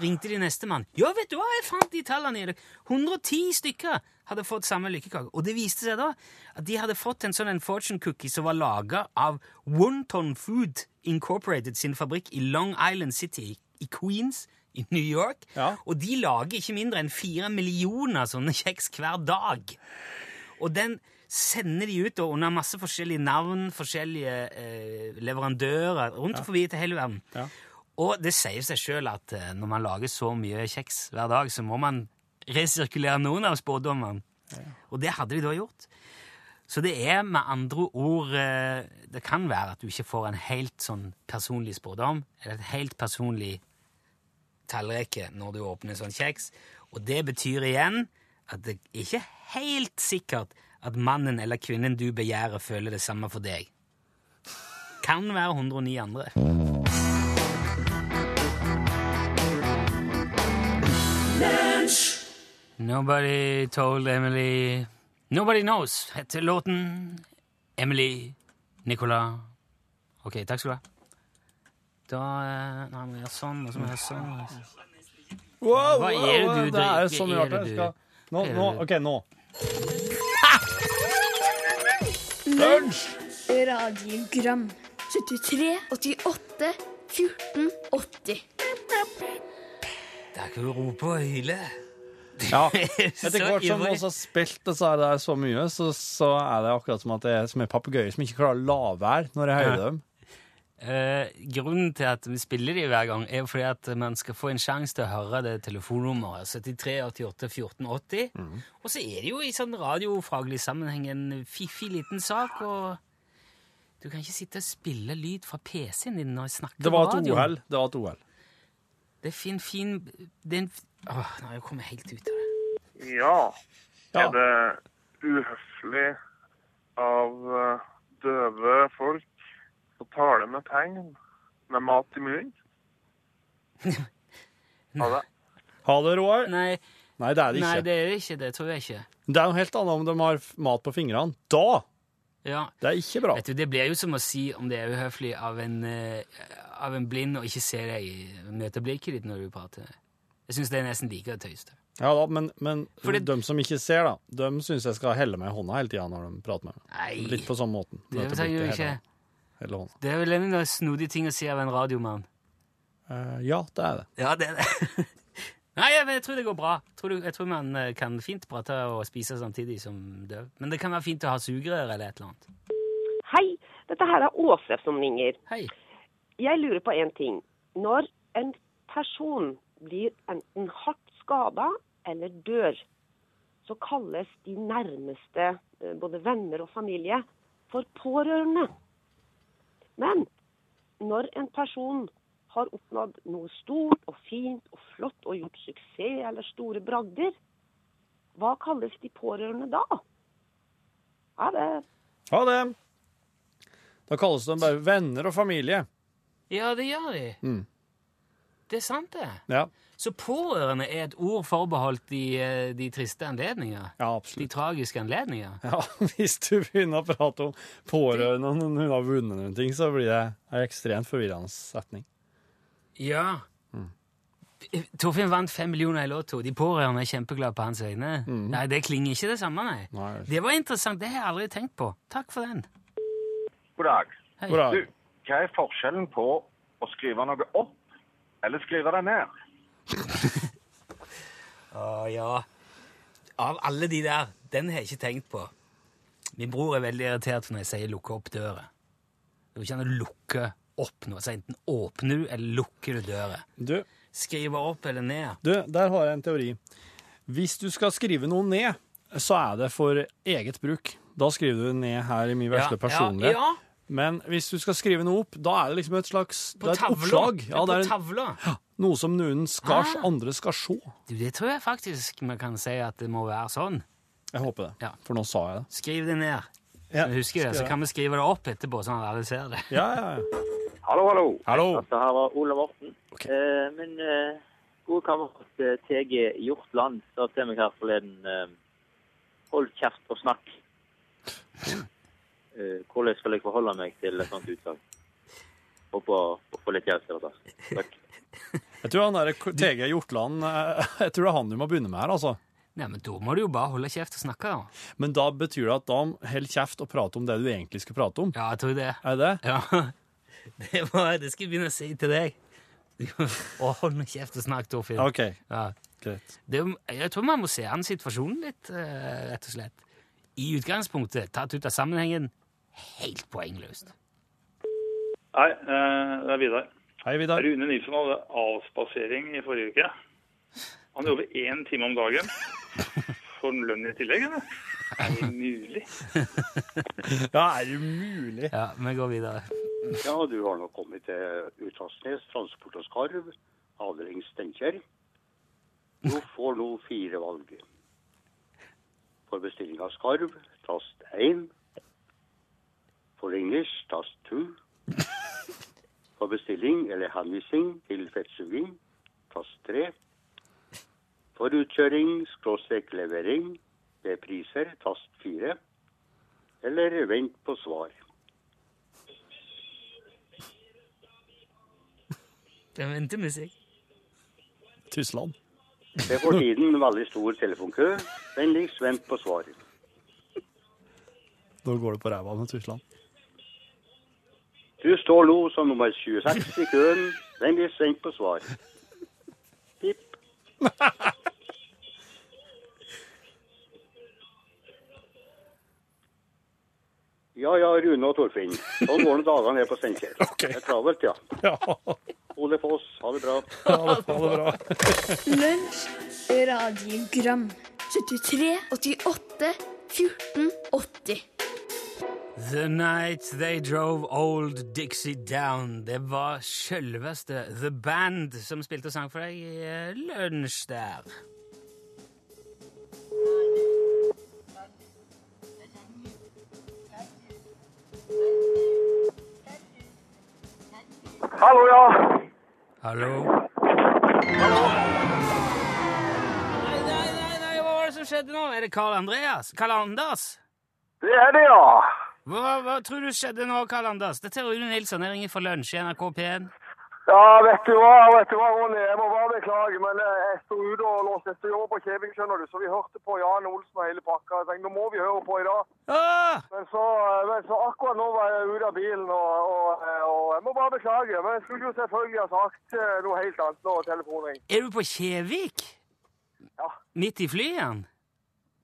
Speaker 2: Ringte de nestemann. Ja, vet du hva, jeg fant de tallene i en lykke- 110 stykker hadde fått samme lykkekake. Og det viste seg da at de hadde fått en sånn en fortune cookie som var laga av Wonton Food Incorporated sin fabrikk i Long Island City i Queens i New York.
Speaker 5: Ja.
Speaker 2: Og de lager ikke mindre enn fire millioner sånne kjeks hver dag. Og den sender de ut da, under masse forskjellige navn, forskjellige eh, leverandører, rundt og forbi til hele verden. Og det sier seg sjøl at eh, når man lager så mye kjeks hver dag, så må man resirkulere noen av spådommene. Og det hadde de da gjort. Så det er med andre ord eh, Det kan være at du ikke får en helt sånn personlig spådom, eller et helt personlig tallrekke når du åpner sånn kjeks. Og det betyr igjen at det er ikke helt sikkert at mannen eller kvinnen du begjærer, føler det samme for deg. Kan være 109 andre. Nobody told Emily Nobody knows heter låten. Emily Nicolas. Ok, takk skal du ha. Da eh, Nei, må jeg gjøre sånn, og så må jeg gjøre sånn.
Speaker 5: Wow,
Speaker 2: Hva er det du
Speaker 5: det er
Speaker 2: drikker?
Speaker 5: så mye
Speaker 2: Er
Speaker 5: rart.
Speaker 2: det
Speaker 5: Jeg
Speaker 2: du-
Speaker 5: skal... Nå,
Speaker 2: er det
Speaker 5: nå,
Speaker 2: du-
Speaker 5: OK, nå.
Speaker 8: Radiogram 73 88 14 80
Speaker 2: Det er ikke å rope og hyle.
Speaker 5: Ja.
Speaker 2: Så
Speaker 5: Etter hvert som vi
Speaker 2: ivrig.
Speaker 5: også har spilt disse her der så mye, så, så er det akkurat som at det er som en papegøye som ikke klarer å la være når jeg hører dem.
Speaker 2: Eh, grunnen til at vi spiller de hver gang, er fordi at man skal få en sjanse til å høre det telefonnummeret. 73 88 14 80.
Speaker 5: Mhm.
Speaker 2: Og så er det jo i sånn radiofaglig sammenheng en fiffig liten sak, og du kan ikke sitte og spille lyd fra PC-en din når jeg snakker
Speaker 5: Det var et
Speaker 2: på radioen.
Speaker 5: OL. Det var et OL.
Speaker 2: Det er fin, fin det er en, Åh, nei, jeg kommer helt ut av det.
Speaker 1: Ja.
Speaker 5: Ja.
Speaker 1: Er det uhøflig av eh, døve folk å tale med tegn med mat i munnen? Ha det.
Speaker 5: Ha det, Roar.
Speaker 2: Nei,
Speaker 5: Nei, det er det
Speaker 2: nei,
Speaker 5: ikke.
Speaker 2: det er det ikke. Det tror jeg ikke.
Speaker 5: Det er noe helt annet om de har f- mat på fingrene. Da!
Speaker 2: Ja.
Speaker 5: Det er ikke bra.
Speaker 2: Vet du, Det blir jo som å si om det er uhøflig av en, eh, av en blind å ikke se deg i møteblikket ditt når du prater. Jeg syns det er nesten like tøyste.
Speaker 5: Ja da, Men, men
Speaker 2: Fordi-
Speaker 5: de som ikke ser, da, de syns jeg skal helle meg i hånda hele tida når de prater med meg.
Speaker 2: Nei,
Speaker 5: Litt på samme måten.
Speaker 2: det
Speaker 5: Møte
Speaker 2: trenger du
Speaker 5: blikket,
Speaker 2: ikke.
Speaker 5: hele- hele hånda.
Speaker 2: Det er vel en av de snodige ting å si av en radiomann.
Speaker 5: Eh, ja, det er det.
Speaker 2: Ja, det er det. Nei, jeg, jeg tror det går bra. Jeg tror, du- jeg tror man eh, kan fint prate og spise samtidig som døv. Men det kan være fint å ha sugerør eller et eller annet.
Speaker 9: Hei, dette her er Åse som ringer.
Speaker 2: Hei.
Speaker 9: Jeg lurer på en ting. Når en person blir enten hardt skada eller dør, så kalles de nærmeste, eh, både venner og familie, for pårørende. Men når en person har oppnådd noe stort og fint og flott og gjort suksess eller store bragder, hva kalles de pårørende da? Ha det.
Speaker 5: Ha det! Da kalles de bare venner og familie.
Speaker 2: Mm. Ja, det gjør de. Det er sant, det.
Speaker 5: Ja,
Speaker 2: Så pårørende er et ord forbeholdt de, eh, de triste anledninger?
Speaker 5: ja
Speaker 2: De
Speaker 5: absolutt.
Speaker 2: tragiske anledninger?
Speaker 5: Ja, Hvis du begynner å prate om pårørende og når hun har vunnet noen ting, så blir det en ekstremt forvirrende setning.
Speaker 2: Ja.
Speaker 5: Mm.
Speaker 2: D- Torfinn vant fem millioner i Lotto. De pårørende er kjempeglade på hans øyne. Nei, det klinger ikke det samme, nei.
Speaker 5: Mm. Nei, det er
Speaker 2: Det var interessant. Det har jeg aldri tenkt på. Takk for den.
Speaker 1: God dag.
Speaker 2: Hei.
Speaker 5: Bra.
Speaker 1: Du, hva er forskjellen på å skrive noe opp eller skrive det ned?
Speaker 2: Å, ja. Av alle de der, den har jeg ikke tenkt på. Min bror er veldig irritert når jeg sier 'lukke opp døra'. Det går ikke an å lukke opp noe. Så enten åpner du, eller lukker du døra.
Speaker 5: Du,
Speaker 2: Skrive opp eller ned.
Speaker 5: du, der har jeg en teori. Hvis du skal skrive noe ned, så er det for eget bruk. Da skriver du det ned her i min verste personlighet.
Speaker 2: Ja, ja.
Speaker 5: Men hvis du skal skrive noe opp, da er det liksom et slags
Speaker 2: På
Speaker 5: det er et
Speaker 2: tavla.
Speaker 5: oppslag. Ja, det
Speaker 2: på
Speaker 5: er en,
Speaker 2: tavla.
Speaker 5: noe som noen skal,
Speaker 2: Ah.
Speaker 5: andre skal se.
Speaker 2: Du, det tror jeg faktisk vi kan si at det må være sånn.
Speaker 5: Jeg håper det,
Speaker 2: Ja.
Speaker 5: for nå sa jeg det.
Speaker 2: Skriv det ned.
Speaker 5: Ja,
Speaker 2: Husker det, så kan vi skrive det opp etterpå, sånn at alle ser det.
Speaker 5: Ja, ja, ja.
Speaker 1: Hallo, hallo.
Speaker 5: Hallo.
Speaker 10: Dette her var Ola Morten.
Speaker 5: Ok.
Speaker 10: Eh, min eh, gode kamerat eh, TG Hjortland sa til meg her forleden eh, Hold kjeft og snakk. Eh, hvordan skal jeg forholde meg til et sånt utsagn? Håper å få litt hjelp til dette. Takk.
Speaker 5: Jeg tror han der TG Hjortland eh, Jeg tror det er han du må begynne med her, altså.
Speaker 2: Nei, men da må du jo bare holde kjeft og snakke, da.
Speaker 5: Men da betyr det at da hold kjeft og prate om det du egentlig skal prate om.
Speaker 2: Ja, jeg tror det.
Speaker 5: Er det det?
Speaker 2: Ja, det, må jeg- det skal jeg begynne å si til deg. Å, hold nå kjeft og snakk, Torfinn.
Speaker 5: OK,
Speaker 2: Ja.
Speaker 5: greit.
Speaker 2: Det, jeg tror man må se an situasjonen litt, eh, rett og slett. I utgangspunktet, tatt ut av sammenhengen, helt poengløst.
Speaker 11: Hei, eh, det er Vidar.
Speaker 5: Hei, Vidar.
Speaker 11: Rune Nilsson hadde avspasering i forrige uke. Han jobber én time om dagen. Får han lønn i tillegg, eller? Er det mulig?
Speaker 5: Ja, er det mulig?
Speaker 2: Ja, vi går videre.
Speaker 10: Ja, du har nå kommet til Utslagsnes, Transport og Skarv, Adeling Steinkjer. Du får nå fire valg. For bestilling av skarv, tast 1. For engelsk, tast 2. For bestilling eller henvisning til fettsuging, tast 3. For utkjøring, skråstrek levering, ved priser, tast 4. Eller vent på svar.
Speaker 2: Det venter musikk.
Speaker 5: Tusland.
Speaker 10: Det er for tiden veldig stor telefonkø. Vennligst vent på svar.
Speaker 5: Nå går det på ræva med Tusland.
Speaker 10: Du står nå som nummer 26 i køen. Vennligst vent på svar. Pip. Ja, ja, Rune og Torfinn. Sånn går nå dagene her på Steinkjer.
Speaker 5: Ok.
Speaker 10: Det er travelt, ja.
Speaker 5: Ja,
Speaker 10: Ole Foss, ha det bra.
Speaker 5: ha det ha det bra.
Speaker 8: Lunsj, radiogram 73, 88, 14, 80
Speaker 2: The Night They Drove Old Dixie Down. Det var sjølveste The Band som spilte og sang for deg i eh, lunsj der.
Speaker 1: Hallo, ja.
Speaker 2: Hallo? Nei, nei, nei, nei, hva var det som skjedde nå? Er det Karl Andreas? Karl Anders?
Speaker 1: Det er det, ja.
Speaker 2: Hva, hva tror du skjedde nå, Karl Anders? Dette er Rune Nilsson, jeg ringer fra lunsj i NRK P1.
Speaker 1: Ja, vet du hva, vet du hva, Ronny, jeg må bare beklage, men eh, jeg sto ute og låste etter jobb på Kjeving, skjønner du, så vi hørte på Jan Olsen og hele pakka. Jeg tenkte, nå må vi høre på i dag.
Speaker 2: Ah!
Speaker 1: Men så, eh, men så akkurat nå var jeg ute av bilen, og, og, eh, og jeg må bare beklage. Men jeg skulle jo selvfølgelig ha sagt eh, noe helt annet når telefonen ringte.
Speaker 2: Er du på Kjevik?
Speaker 1: Ja.
Speaker 2: Midt i flyet?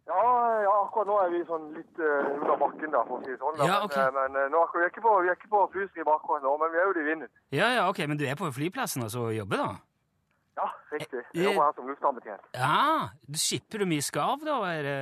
Speaker 1: Ja, ja, akkurat nå er vi sånn litt eh, under bakken, da, for å si det sånn. da.
Speaker 2: Ja, ok.
Speaker 1: Men, eh, men eh, nå, akkurat- vi er ikke på, vi er ikke på Fusvik akkurat nå, men vi er jo ute i vinden.
Speaker 2: Ja, ja, ok, men du er på flyplassen altså, og jobber, da? Eh,
Speaker 1: Ja, riktig. Jeg jobber her som luftambetjent.
Speaker 2: Ja, du Skipper du mye skarv, da? Er det...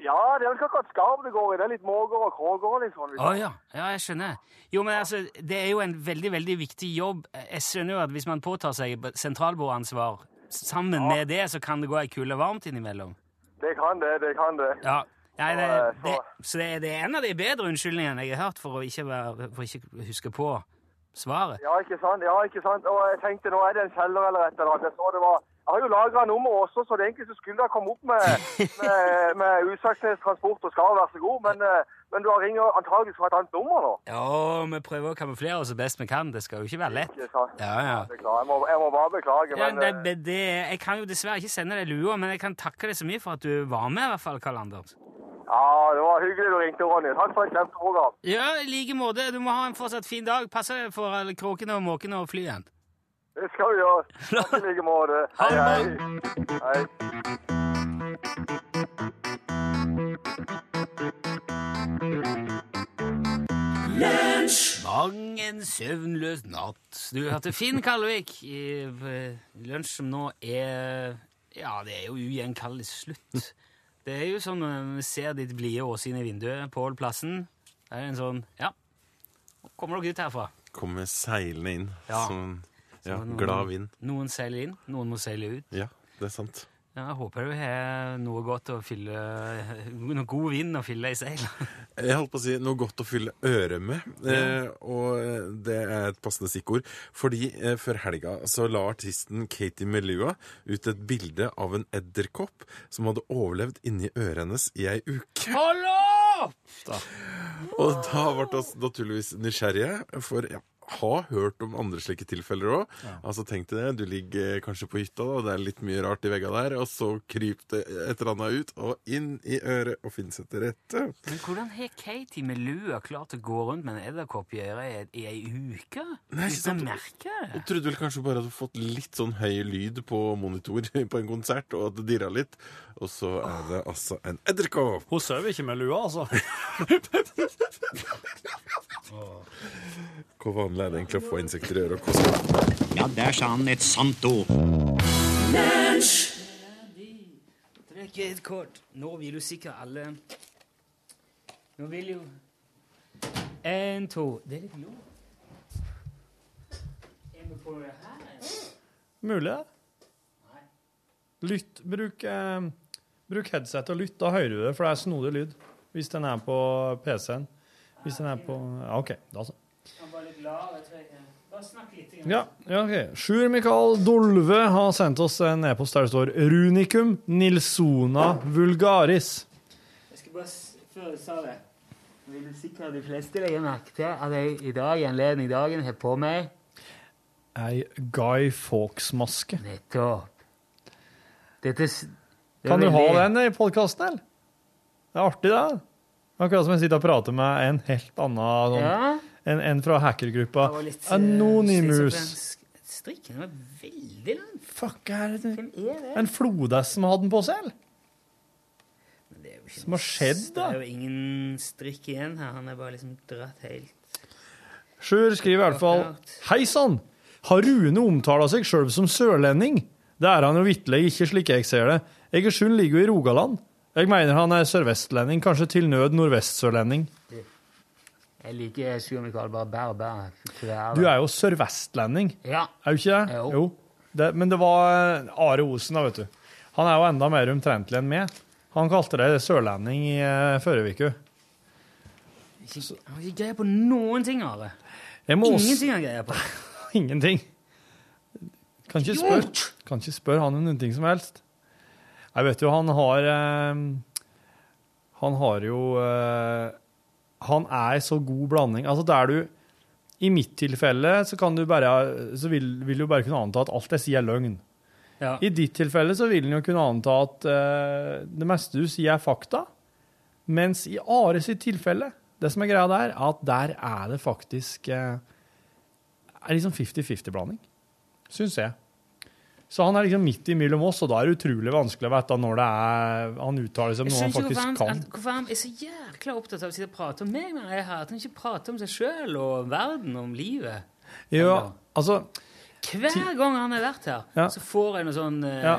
Speaker 1: Ja, det er vel ikke akkurat skarv det går i. Det er litt måger og kråker og litt sånn.
Speaker 12: Ah,
Speaker 2: Å ja. ja, jeg skjønner. Jo, men altså, det er jo en veldig, veldig viktig jobb. Jeg skjønner jo at hvis man påtar seg sentralbordansvar sammen med det, så kan det gå ei kulde varmt innimellom.
Speaker 1: Det kan det, det kan det.
Speaker 2: Ja. Nei, det,
Speaker 1: Så, eh, så-
Speaker 2: det, så det, det er en av de bedre unnskyldningene jeg har hørt for å ikke, være, for ikke huske på svaret.
Speaker 1: Ja, ikke sant? Ja, ikke sant? Og jeg tenkte, nå er det en kjeller eller et eller annet. Jeg så det var... Jeg har jo lagret nummer også, så det egentlig så skulle jeg komme opp med, med, med Usaksnes transport og skal være så god, men, eh, men du har ringer antageligvis fra et annet nummer nå.
Speaker 2: Ja, vi prøver å kamuflere oss så best vi kan. Det skal jo ikke være lett.
Speaker 1: Ikke sant?
Speaker 2: Ja, ja.
Speaker 1: Beklager, jeg må, jeg må bare beklage,
Speaker 2: Ja,
Speaker 1: men...
Speaker 2: det,
Speaker 1: eh,
Speaker 2: det, det, jeg kan jo dessverre ikke sende deg lua, men jeg kan takke deg så mye for at du var med, i hvert fall, Karl Anders.
Speaker 1: Ja, det var hyggelig du ringte, Ronny. Takk for et kjempeprogram.
Speaker 2: Ja, i like måte. Du må ha en fortsatt fin dag. Pass deg for alle kråkene og måkene og flyet.
Speaker 1: Det skal vi gjøre. Takk i like måte. Hei, hei. Hei.
Speaker 2: Mang en søvnløs natt. Du hørte Finn Kalvik i eh, lunsj, som nå er Ja, det er jo ugjenkallelig slutt. Det er jo sånn når vi ser ditt blide åsyn i vinduet, Pål Plassen. Det er en sånn Ja, nå kommer dere ut herfra.
Speaker 13: Kommer seilende inn
Speaker 2: Ja.
Speaker 13: som en ja,
Speaker 2: Noen-
Speaker 13: glad vind.
Speaker 2: Noen seiler inn, noen må seile ut.
Speaker 13: Ja, det er sant.
Speaker 2: Ja, jeg håper du har noe godt å fylle Noe god vind å fylle i seil.
Speaker 13: Jeg holdt på å si noe godt å fylle øret med, eh, og eh, det er et passende stikkord. Fordi eh, før helga så la artisten Katie Melua ut et bilde av en edderkopp som hadde overlevd inni øret hennes i ei uke.
Speaker 2: Hold opp!
Speaker 13: Og da ble vi naturligvis nysgjerrige, for jeg har hørt om andre slike tilfeller òg. Altså, tenk deg det, du ligger eh, kanskje på hytta, da, og det er litt mye rart i veggene der, og så kryper det et eller annet ut, og inn i øret, og finnes seg til rette.
Speaker 2: Men hvordan har Katie med lua klart å gå rundt med en edderkopp i øret i i ei uke?
Speaker 13: Nei,
Speaker 2: Uten
Speaker 13: ikke sant.
Speaker 2: å merke det?
Speaker 13: Jeg trodde vel kanskje bare at du hadde fått litt sånn høy lyd på monitor på en konsert, og at det dirra litt, og så er det altså en edderkopp!
Speaker 5: Hun sover ikke med lua, altså.
Speaker 13: Hvor vanlig er det egentlig å få insekter i øret? og hvordan-
Speaker 14: Ja, der sa han et sant ord.
Speaker 2: Trekk et kort. Nå vil jo sikkert alle Nå vil jo En, to Det er litt lov. Er vi på det her?
Speaker 5: Mulig, det. Lytt, bruk, eh, bruk headset og lytt, da hører du det, for det er snodig lyd. Hvis den er på PC-en. Hvis den er på Ja, OK, da så.
Speaker 2: Han var litt lav. Jeg tror jeg Bare snakk litt. igjen.
Speaker 5: Ja, ja ok. Sjur Mikael Dolve har sendt oss en e-post der det står 'Runicum nilsona vulgaris'.
Speaker 2: Jeg skal bare s- Før jeg sa det vil sikkert de fleste legge merke til at jeg i dag i anledning dagen har på meg
Speaker 5: Ei Guy Fawkes-maske.
Speaker 2: Nettopp. Dette s- det er
Speaker 5: Kan du ha
Speaker 2: veldig-
Speaker 5: den i podkasten, eller? Det er artig, det. Akkurat som jeg sitter og prater med en helt annen sånn,
Speaker 2: Ja.
Speaker 5: en, en fra hackergruppa
Speaker 2: Det var litt, eh,
Speaker 5: Anonymous.
Speaker 2: schizofrensk. Strikken var veldig lang.
Speaker 5: Fuck, er det
Speaker 2: Hvem er det?
Speaker 5: En flodhest som hadde den på seg, eller? Som har skjedd, da?
Speaker 2: Det er jo ingen strikk igjen her. Han er bare liksom dratt helt
Speaker 5: Sjur skriver i hvert fall Hei sann! Har Rune omtala seg sjøl som sørlending? Det er han jo vitterlig ikke, slik jeg ser det. Egersund ligger jo i Rogaland. Jeg mener han er sørvestlending, kanskje til nød nordvestsørlending.
Speaker 2: Jeg liker Sjur Mikael bare bære og bære.
Speaker 5: Du er jo sørvestlending,
Speaker 2: Ja.
Speaker 5: er du ikke det? Jo. Det, men det var eh, Are Osen, da, vet du. Han er jo enda mer omtrentlig enn meg. Han kalte deg sørlending i eh, forrige uke.
Speaker 2: Ikke, jeg har ikke greie på noen ting, Are.
Speaker 5: Jeg må også-
Speaker 2: Ingenting har jeg greie på.
Speaker 5: Ingenting. Kan ikke spørre kan ikke spørre han om noen ting som helst. Jeg vet jo, han har eh, Han har jo eh, Han er i så god blanding. Altså, der du I mitt tilfelle så kan du bare Så vil, vil du bare kunne anta at alt jeg sier, er løgn.
Speaker 2: Ja.
Speaker 5: I ditt tilfelle så vil en jo kunne anta at eh, det meste du sier, er fakta. Mens i Are sitt tilfelle, det som er greia der, er at der er det faktisk eh, er liksom 50-50-blanding, syns jeg. Så han er liksom midt imellom oss, og da er det utrolig vanskelig å vite når det er han uttaler seg om
Speaker 2: Jeg
Speaker 5: noe han
Speaker 2: skjønner ikke
Speaker 5: faktisk
Speaker 2: hvorfor han,
Speaker 5: kan.
Speaker 2: at- hvorfor han er så jækla opptatt av å sitte og prate om meg når jeg er her. At han ikke prater om seg sjøl og verden, om livet.
Speaker 5: Jo, altså,
Speaker 2: Hver gang han har vært her,
Speaker 5: Ja.
Speaker 2: så får jeg noe sånn eh,
Speaker 5: Ja.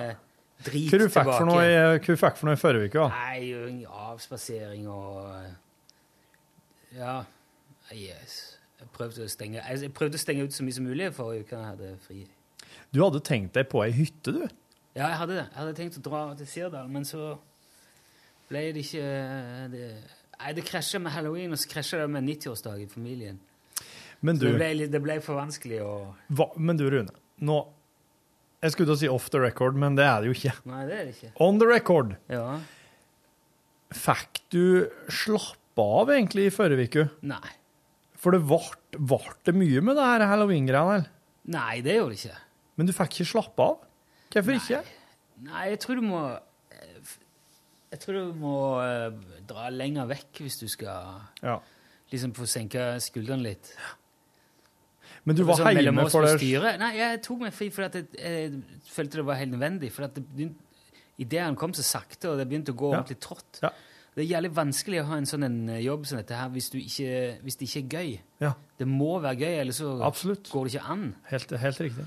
Speaker 2: drit
Speaker 5: hva du fikk
Speaker 2: tilbake.
Speaker 5: for noe i- hva du fikk for noe i forrige uke? da?
Speaker 2: Nei, jo, en avspasering og eh, Ja. Ah, Yes. Jeg prøvde, å stenge, altså, jeg prøvde å stenge ut så mye som mulig forrige uke da jeg hadde fri.
Speaker 5: Du hadde tenkt deg på ei hytte, du?
Speaker 2: Ja, jeg hadde det. Jeg hadde tenkt å dra til Sirdal, men så ble det ikke det, Nei, det krasja med halloween, og så krasja det med 90-årsdag i familien. Så
Speaker 12: Men du,
Speaker 2: det, ble, litt- det ble for vanskelig å
Speaker 12: hva, men du Rune, nå Jeg skulle til å si off the record, men det er det jo ikke.
Speaker 2: Nei, det er det ikke.
Speaker 12: On the record.
Speaker 2: Ja.
Speaker 12: Fikk du slappe av egentlig i forrige uke?
Speaker 2: Nei.
Speaker 12: For det vart, vart det mye med det her halloween-greiene, eller?
Speaker 2: Nei, det gjorde det ikke.
Speaker 12: Men du fikk ikke slappe av? Hvorfor ikke?
Speaker 2: Nei, jeg tror du må eh, f- Jeg tror du må eh, dra lenger vekk hvis du skal
Speaker 12: Ja.
Speaker 2: liksom få senka skuldrene litt.
Speaker 12: Men du var
Speaker 2: Sånn mellom
Speaker 12: hjemme
Speaker 2: oss
Speaker 12: for
Speaker 2: og
Speaker 12: det
Speaker 2: styret? Nei, jeg tok meg fri fordi at jeg, jeg følte det var helt nødvendig. For at det begynte, idet han kom så sakte, og det begynte å gå
Speaker 12: Ja.
Speaker 2: ordentlig trått Det er jævlig vanskelig å ha en sånn en eh, jobb som dette her hvis, du ikke, hvis det ikke er gøy.
Speaker 12: Ja.
Speaker 2: Det må være gøy, ellers så går det ikke an.
Speaker 12: Helt, helt riktig.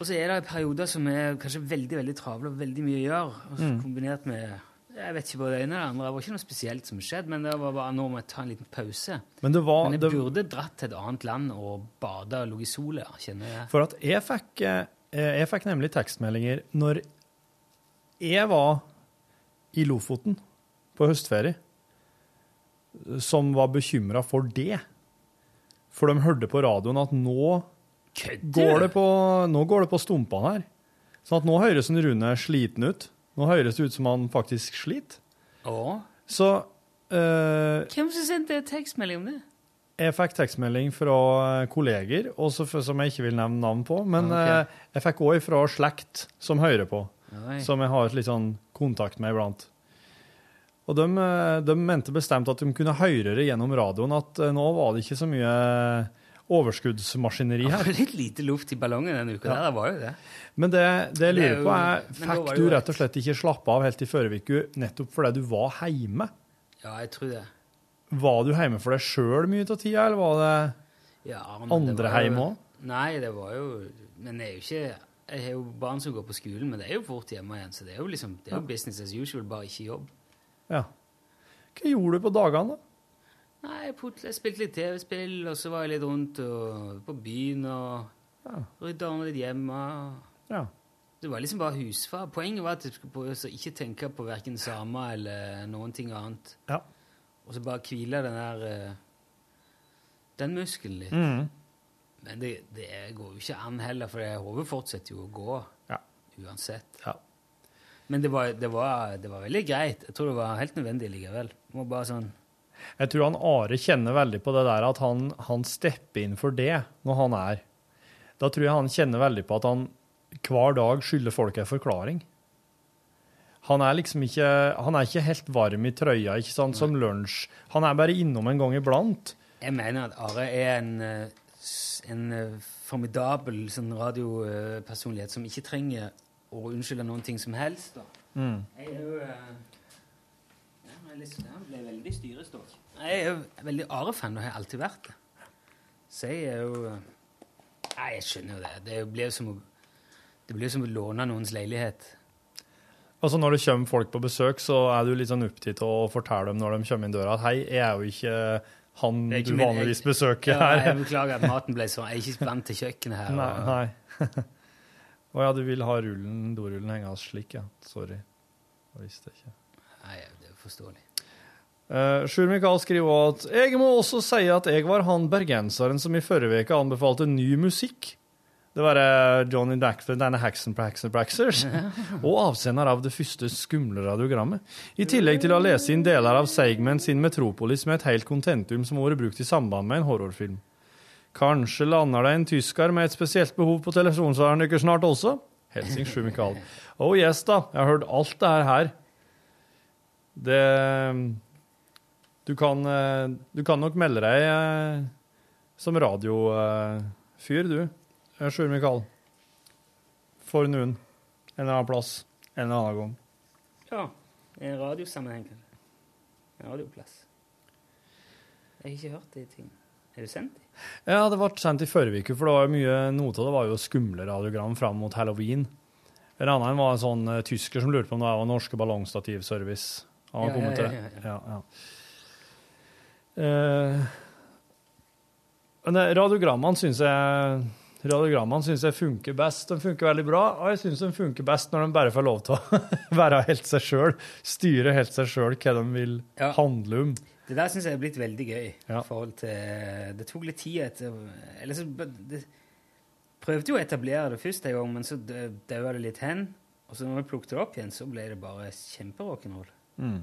Speaker 2: Og så er det perioder som er kanskje veldig veldig travle og veldig mye å gjøre. Og så
Speaker 12: Mm.
Speaker 2: Kombinert med jeg vet ikke både det ene og det andre. Det var ikke noe spesielt som skjedde, men det var bare nå må jeg ta en liten pause.
Speaker 12: Men det var
Speaker 2: Men jeg
Speaker 12: det,
Speaker 2: burde dratt til et annet land og bada og ligget i sola, kjenner jeg.
Speaker 12: For at jeg fikk, eh, jeg fikk nemlig tekstmeldinger når jeg var i Lofoten på høstferie, som var bekymra for det. For de hørte på radioen at nå går det på, nå går det på stumpene her. Sånn at nå høres en Rune sliten ut. Nå høres det ut som han faktisk sliter.
Speaker 2: Å?
Speaker 12: Så eh,
Speaker 2: Hvem som sendte tekstmelding om det?
Speaker 12: jeg fikk tekstmelding fra eh, kolleger, også for, som jeg ikke vil nevne navn på, men
Speaker 2: Ok.
Speaker 12: eh, jeg fikk òg fra slekt som hører på,
Speaker 2: Oi.
Speaker 12: som jeg har et litt sånn kontakt med iblant. Og de, eh, de mente bestemt at de kunne høre det gjennom radioen, at eh, nå var det ikke så mye eh, overskuddsmaskineri
Speaker 2: Det
Speaker 12: her.
Speaker 2: var litt lite luft i ballongen denne uka.
Speaker 12: Ja.
Speaker 2: Der, det var jo det.
Speaker 12: Men det, det jeg
Speaker 2: Det er
Speaker 12: lurer på,
Speaker 2: jo-
Speaker 12: er
Speaker 2: men da var
Speaker 12: fikk
Speaker 2: jo
Speaker 12: du
Speaker 2: rett.
Speaker 12: rett og slett ikke slappe av helt i forrige uke nettopp fordi du var hjemme?
Speaker 2: Ja, jeg tror det.
Speaker 12: Var du hjemme for deg sjøl mye av tida, eller var det
Speaker 2: Ja, men det
Speaker 12: andre
Speaker 2: var jo-
Speaker 12: hjemme òg?
Speaker 2: Nei, det var jo Men jeg er jo ikke Jeg har jo barn som går på skolen, men det er jo fort hjemme igjen. Så det er jo liksom Det er jo
Speaker 12: Ja.
Speaker 2: business as usual, bare ikke jobb.
Speaker 12: Ja. Hva gjorde du på dagene, da?
Speaker 2: Nei, jeg put- jeg spilte litt TV-spill, og så var jeg litt rundt og på byen og rydda ordna litt hjemme.
Speaker 12: Ja.
Speaker 2: Det var liksom bare husfar. Poenget var at jeg skulle prøve å ikke tenke på verken samer eller noen ting annet.
Speaker 12: Ja.
Speaker 2: Og så bare hvile den der eh, Den muskelen litt.
Speaker 12: Mhm.
Speaker 2: Men det, det går jo ikke an heller, for det- hodet fortsetter jo å gå uansett. Men det var, det, var, det var veldig greit. Jeg tror det var helt nødvendig likevel. Det var bare sånn
Speaker 12: Jeg tror han Are kjenner veldig på det der at han, han stepper inn for det når han er. Da tror jeg han kjenner veldig på at han hver dag skylder folk en forklaring. Han er liksom ikke, han er ikke helt varm i trøya, ikke sant, som lunsj. Han er bare innom en gang iblant.
Speaker 2: Jeg mener at Are er en, eh, s- en eh, formidabel sånn radiopersonlighet som ikke trenger å unnskylde noen ting som helst. Da.
Speaker 12: Mm.
Speaker 2: Jeg er jo eh, ja, jeg er litt- Jeg ble veldig styrestokk. Jeg er jo veldig Are-fan og har alltid vært det. Så jeg er jo eh, Nei, jeg skjønner jo det. Det blir jo som å, det blir jo som å låne noens leilighet.
Speaker 12: Altså Når det kommer folk på besøk, så er du litt sånn opptatt av å fortelle dem når de kommer inn døra at hei, jeg er jo ikke han
Speaker 2: Det er ikke
Speaker 12: du
Speaker 2: min-
Speaker 12: vanligvis
Speaker 2: jeg-
Speaker 12: besøker
Speaker 2: Ja,
Speaker 12: her.
Speaker 2: jeg beklager at maten ble sånn. Jeg er ikke vant til kjøkkenet her.
Speaker 12: Nei.
Speaker 2: og-
Speaker 12: nei. Å ja, du vil ha rullen, dorullen hengende slik, ja. Sorry. Jeg visste ikke.
Speaker 2: Nei, det er forståelig.
Speaker 12: Uh, Sjur Mikael skriver også at jeg må også si at jeg var han bergenseren som i forrige uke anbefalte ny musikk. Det var eh, Johnny Dackford and the Haxen Praxen Praxers, og avsender av det første skumle radiogrammet. I tillegg til å lese inn deler av Seigmen sin Metropolis med et helt kontentium som har vært brukt i samband med en horrorfilm. Kanskje lander det en tysker med et spesielt behov på telefonsvareren deres snart også? Helsing Sjur Mikael. Oh yes, da. Jeg har hørt alt det her her. Det Du kan, eh, du kan nok melde deg eh, som radiofyr, du, eh, Sjur Mikael. For noen. En eller annen plass. En eller annen gang.
Speaker 2: Ja. I en radiosammenheng, kanskje. En radioplass. Jeg har ikke hørt de tingene. Er det sendt?
Speaker 12: Ja, det ble sendt i forrige uke, for det var jo mye noe av det var jo skumle radiogram fram mot halloween. En annen var en sånn eh, tysker som lurte på om det var norske ballongstativservice. Han
Speaker 2: Ja,
Speaker 12: var kommet
Speaker 2: ja,
Speaker 12: til.
Speaker 2: ja,
Speaker 12: Ja, ja. Eh, men det- radiogrammene syns jeg Radiogrammene synes jeg funker best. De funker veldig bra, og jeg syns de funker best når de bare får lov til å være helt seg sjøl. Styre helt seg sjøl hva de vil handle om.
Speaker 2: Det der syns jeg er blitt veldig gøy. i forhold til... eh, Det tok litt tid etter Eller så det, Prøvde jo å etablere det først en gang, men så dø- daua det litt hen. Og så når vi plukket det opp igjen, så ble det bare kjemperock'n'roll.
Speaker 5: Mm.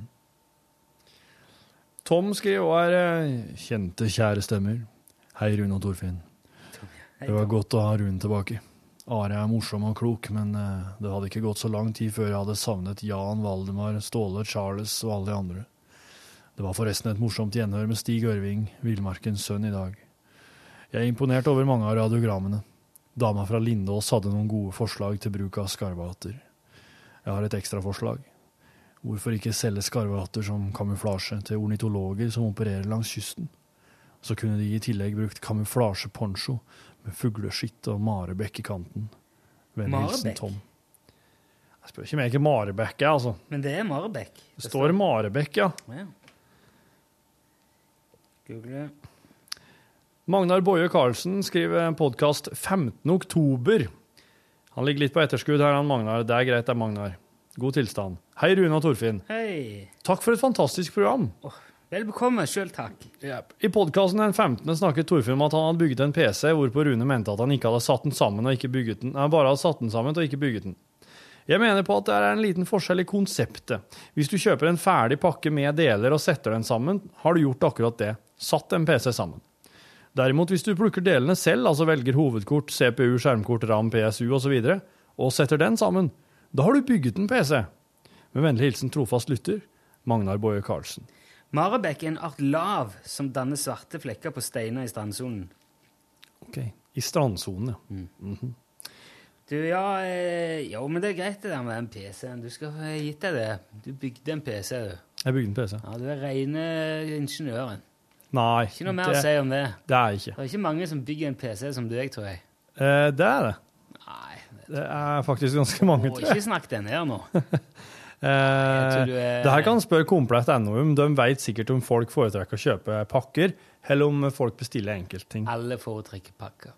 Speaker 5: Tom skriver også her eh, Kjente, kjære stemmer. Hei, Rune og Torfinn. Det var godt å ha Rune tilbake. Are er morsom og klok, men eh, det hadde ikke gått så lang tid før jeg hadde savnet Jan, Valdemar, Ståle, Charles og alle de andre. Det var forresten et morsomt gjenhør med Stig Ørving, Villmarkens sønn, i dag. Jeg er imponert over mange av radiogrammene. Dama fra Lindås hadde noen gode forslag til bruk av skarvater. Jeg har et ekstraforslag. Hvorfor ikke selge skarvehatter som kamuflasje til ornitologer som opererer langs kysten? Så kunne de i tillegg brukt kamuflasjeponcho med fugleskitt og marebekk i kanten. Vennlig hilsen
Speaker 2: Marebekk?
Speaker 5: Tom. Jeg spør ikke om jeg ikke marebekk er, altså.
Speaker 2: Men det er Marebekk.
Speaker 5: Det står marebekk, ja.
Speaker 2: Ja. Google
Speaker 5: Magnar Boje Karlsen skriver podkast 15. oktober. Han ligger litt på etterskudd her, han Magnar. Det er greit, det er Magnar. God tilstand. Hei, Rune og Torfinn.
Speaker 2: Hei.
Speaker 5: Takk for et fantastisk program.
Speaker 2: Vel bekomme, sjøl takk.
Speaker 5: I podkasten den 15. snakket Torfinn om at han hadde bygget en PC, hvorpå Rune mente at han ikke hadde satt den sammen og ikke bygget den. Han bare hadde satt den sammen og ikke bygget den. Jeg mener på at det er en liten forskjell i konseptet. Hvis du kjøper en ferdig pakke med deler og setter den sammen, har du gjort akkurat det. Satt en PC sammen. Derimot, hvis du plukker delene selv, altså velger hovedkort, CPU, skjermkort, RAM, PSU osv., og, så videre, og setter den sammen, da har du bygget en PC. Med vennlig hilsen trofast lytter, Magnar Boje Karlsen.
Speaker 2: Marebekk er en art lav som danner svarte flekker på steiner i strandsonen.
Speaker 5: Ok, I strandsonen, ja. Mhm.
Speaker 2: Du, ja, eh, jo, men det er greit det der med den PC-en. Du skal ha gitt deg det. Du bygde en PC, du.
Speaker 5: Jeg bygde en PC.
Speaker 2: Ja, Du er rene ingeniøren.
Speaker 5: Nei.
Speaker 2: Ikke noe mer å si om det.
Speaker 5: Det er ikke.
Speaker 2: Det er ikke mange som bygger en PC som deg, tror jeg.
Speaker 5: Eh, det er det. Nei. Det er faktisk ganske mange.
Speaker 2: Og
Speaker 5: tror jeg.
Speaker 2: ikke snakk deg ned nå.
Speaker 5: Eh,
Speaker 2: tror du er-
Speaker 5: det her kan spørre komplett NO om. De vet sikkert om folk foretrekker å kjøpe pakker, eller om folk bestiller enkeltting.
Speaker 2: Alle foretrekker pakker.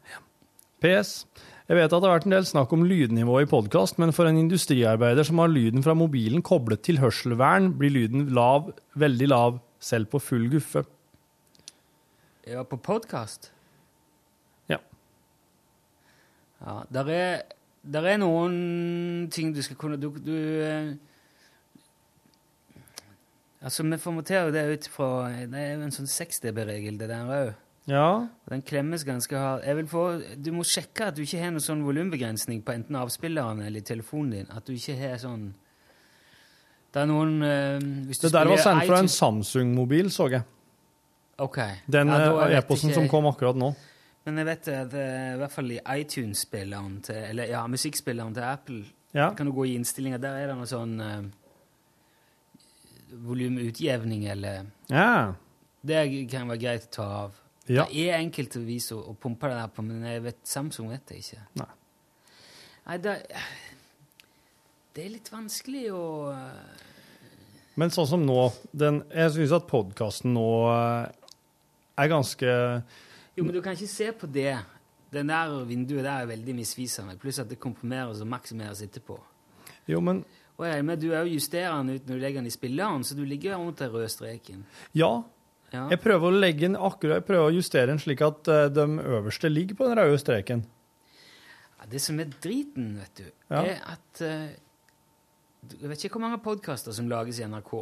Speaker 5: PS. Jeg vet at det har vært en del snakk om lydnivå i podkast, men for en industriarbeider som har lyden fra mobilen koblet til hørselvern, blir lyden lav, veldig lav, selv på full guffe.
Speaker 2: Ja, på podkast?
Speaker 5: Ja.
Speaker 2: Ja, der er, der er noen ting du skal kunne Du, du eh, Altså, vi formaterer jo det ut fra Det er jo en sånn 6 dB-regel, det der òg.
Speaker 5: Ja.
Speaker 2: Den klemmes ganske hardt. Jeg vil få, du må sjekke at du ikke har noen sånn volumbegrensning på enten avspilleren eller telefonen din. At du ikke har sånn Det er noen eh, hvis du
Speaker 5: Det der var
Speaker 2: spiller
Speaker 5: sendt fra en
Speaker 2: iTunes-
Speaker 5: Samsung-mobil, så jeg.
Speaker 2: Ok.
Speaker 5: Den
Speaker 2: Ja, da
Speaker 5: eh,
Speaker 2: vet
Speaker 5: e-posten
Speaker 2: ikke
Speaker 5: som
Speaker 2: jeg.
Speaker 5: kom akkurat nå.
Speaker 2: Men jeg vet at eh, i hvert fall i iTunes-spilleren til Eller ja, musikkspilleren til Apple
Speaker 5: Ja.
Speaker 2: kan du gå i innstillinger. Der er det noe sånn eh, volumutjevning eller
Speaker 5: Ja.
Speaker 2: Det kan være greit å ta av.
Speaker 5: Ja.
Speaker 2: Det er enkelte vis å, å pumpe det der på, men jeg vet, Samsung vet jeg ikke.
Speaker 5: Nei.
Speaker 2: Nei, det, det er litt vanskelig å eh,
Speaker 5: Men sånn som nå den, Jeg syns at podkasten nå eh, er ganske
Speaker 2: Jo, men du kan ikke se på det. Den der vinduet der er veldig misvisende. Pluss at det komprimeres og maksimeres etterpå.
Speaker 5: Jo, men
Speaker 2: Og jeg, men du er jo justerer den ut når du legger den i spilleren, så du ligger jo rundt den røde streken.
Speaker 5: ja.
Speaker 2: Ja.
Speaker 5: Jeg prøver å legge den akkurat, jeg prøver å justere den slik at eh, de øverste ligger på den røde streken.
Speaker 2: Ja, det som er driten, vet du,
Speaker 5: Ja.
Speaker 2: er at eh, du- Jeg vet ikke hvor mange podkaster som lages i NRK,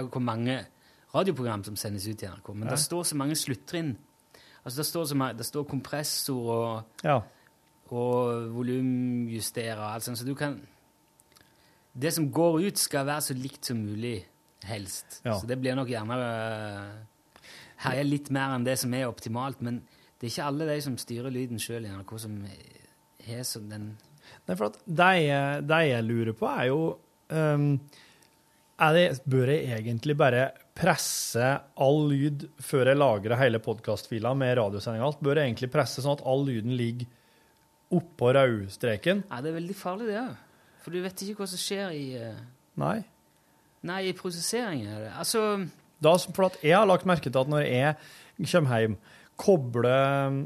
Speaker 2: og hvor mange radioprogram som sendes ut i NRK, men
Speaker 5: Ja.
Speaker 2: det står så mange sluttrinn. Altså, det står, så mange, det står kompressor og,
Speaker 5: Ja.
Speaker 2: og volumjusterer og alt sånt, så du kan Det som går ut, skal være så likt som mulig, helst.
Speaker 5: Ja.
Speaker 2: Så det blir nok gjerne eh, herje litt mer enn det som er optimalt, men det er ikke alle de som styrer lyden sjøl i NRK, som har sånn den
Speaker 5: Nei, for at det jeg, det jeg lurer på, er jo ehm, er det, Bør jeg egentlig bare presse all lyd før jeg lagrer hele podkastfila med radiosending og alt? Bør jeg egentlig presse sånn at all lyden ligger oppå rødstreken?
Speaker 2: Ja, det er veldig farlig, det òg. For du vet ikke hva som skjer i eh,
Speaker 5: Nei.
Speaker 2: Nei, i prosesseringen. er det. Altså
Speaker 5: Da, for at jeg har lagt merke til at når jeg kommer hjem, kobler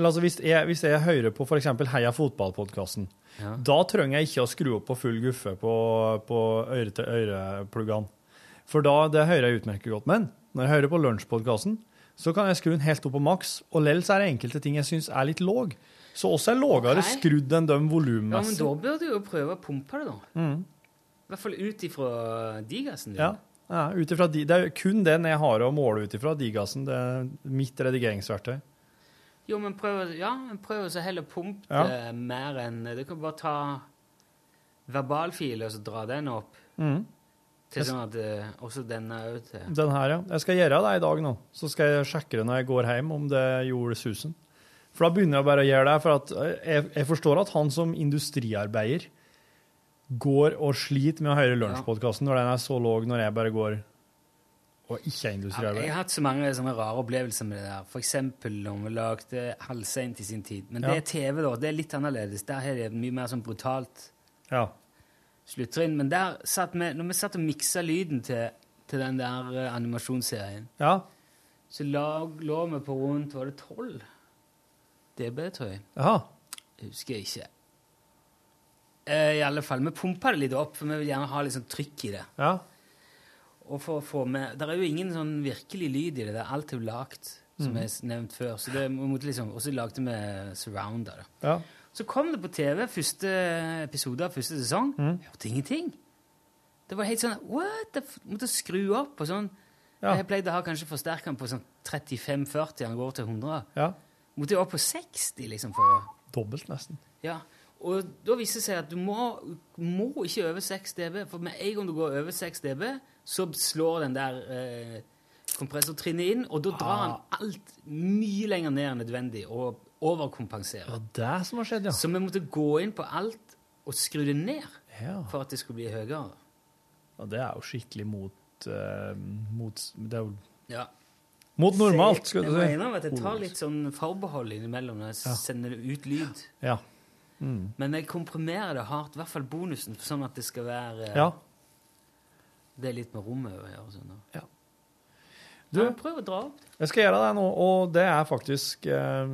Speaker 5: eller altså hvis, jeg, hvis jeg hører på f.eks. Heia fotball-podkasten,
Speaker 2: Ja.
Speaker 5: da trenger jeg ikke å skru opp på full guffe på, på øre- øreplugene. For da, det hører jeg utmerket godt. Men når jeg hører på lunsjpodkasten, så kan jeg skru den helt opp på maks, og lell så er det enkelte ting jeg syns er litt låg. Så også er lågere
Speaker 2: Ok.
Speaker 5: skrudd enn de
Speaker 2: Ja, men
Speaker 5: volummessig.
Speaker 2: da bør du jo prøve å pumpe det, da.
Speaker 5: Mm.
Speaker 2: I hvert fall ut ifra digasen din.
Speaker 5: Ja. Ja, ut ifra de, det er jo kun den jeg har å måle ut ifra, digassen. Det er mitt redigeringsverktøy.
Speaker 2: Jo, men prøv, ja, men prøv å så heller pumpe
Speaker 5: Ja.
Speaker 2: det mer enn Du kan bare ta verbalfil og så dra den opp.
Speaker 5: Mhm.
Speaker 2: Til
Speaker 5: Jeg s-
Speaker 2: sånn at eh, også denne òg til
Speaker 5: Den her, ja. Jeg skal gjøre det i dag nå. Så skal jeg sjekke det når jeg går hjem, om det gjorde susen. For da begynner jeg bare å gjøre det. For at eh, jeg, jeg forstår at han som industriarbeider går og sliter med å høre lunsjpodkasten når den er så låg, når jeg bare går og ikke er
Speaker 2: Jeg
Speaker 5: industriarbeider.
Speaker 2: har hatt så mange sånne rare opplevelser med det der. For eksempel når vi lagde Halvseint i sin tid. Men det
Speaker 5: Ja.
Speaker 2: er TV, da. Det er litt annerledes. Der har de et mye mer sånn brutalt
Speaker 5: Ja.
Speaker 2: sluttrinn. Men der satt vi, når vi satt og miksa lyden til, til den der eh, animasjonsserien,
Speaker 5: ja.
Speaker 2: så lag, lå vi på rundt Var det 12 dB, tror jeg?
Speaker 5: Jaha.
Speaker 2: Husker jeg ikke. Eh, I alle fall, Vi pumpa det litt opp, for vi vil gjerne ha litt sånn trykk i det.
Speaker 5: Ja.
Speaker 2: Og for å få med, Der er jo ingen sånn virkelig lyd i det. det er Alt er jo lagt, som
Speaker 5: Mhm.
Speaker 2: jeg s- nevnt før. så det vi måtte liksom, Og så lagde vi surrounder. da.
Speaker 5: Ja.
Speaker 2: Så kom det på TV, første episode av første sesong.
Speaker 5: Mhm.
Speaker 2: Hørte ingenting. Det var helt sånn What? Jeg f- måtte skru opp og sånn. Jeg pleide å ha kanskje forsterkeren på sånn 35-40, han går til 100.
Speaker 5: Ja.
Speaker 2: Måtte jeg opp på 60, liksom, for å
Speaker 5: Dobbelt, nesten.
Speaker 2: ja, og da viser det seg at du må, må ikke over 6 dB, for med en gang du går over 6 dB, så slår den der eh, kompressortrinnet inn, og da drar den
Speaker 5: Ah.
Speaker 2: alt mye lenger ned enn nødvendig, og overkompenserer.
Speaker 5: Det er som har skjedd, ja.
Speaker 2: Så vi måtte gå inn på alt og skru det ned
Speaker 5: Ja.
Speaker 2: for at det skulle bli høyere.
Speaker 5: Og det er jo skikkelig mot, eh, mot Det er jo
Speaker 2: Ja.
Speaker 5: mot normalt,
Speaker 2: Jeg
Speaker 5: skal du
Speaker 2: må
Speaker 5: si.
Speaker 2: innrømme at jeg tar litt sånn forbehold innimellom når jeg
Speaker 5: Ja.
Speaker 2: sender ut lyd.
Speaker 5: Ja. Mm.
Speaker 2: Men jeg komprimerer det hardt, i hvert fall bonusen, sånn at det skal være eh,
Speaker 5: Ja.
Speaker 2: Det er litt med rommet å gjøre. Sånn, da.
Speaker 5: Du,
Speaker 2: Ja, prøv å dra opp.
Speaker 5: Jeg skal gjøre det nå, og det er faktisk eh,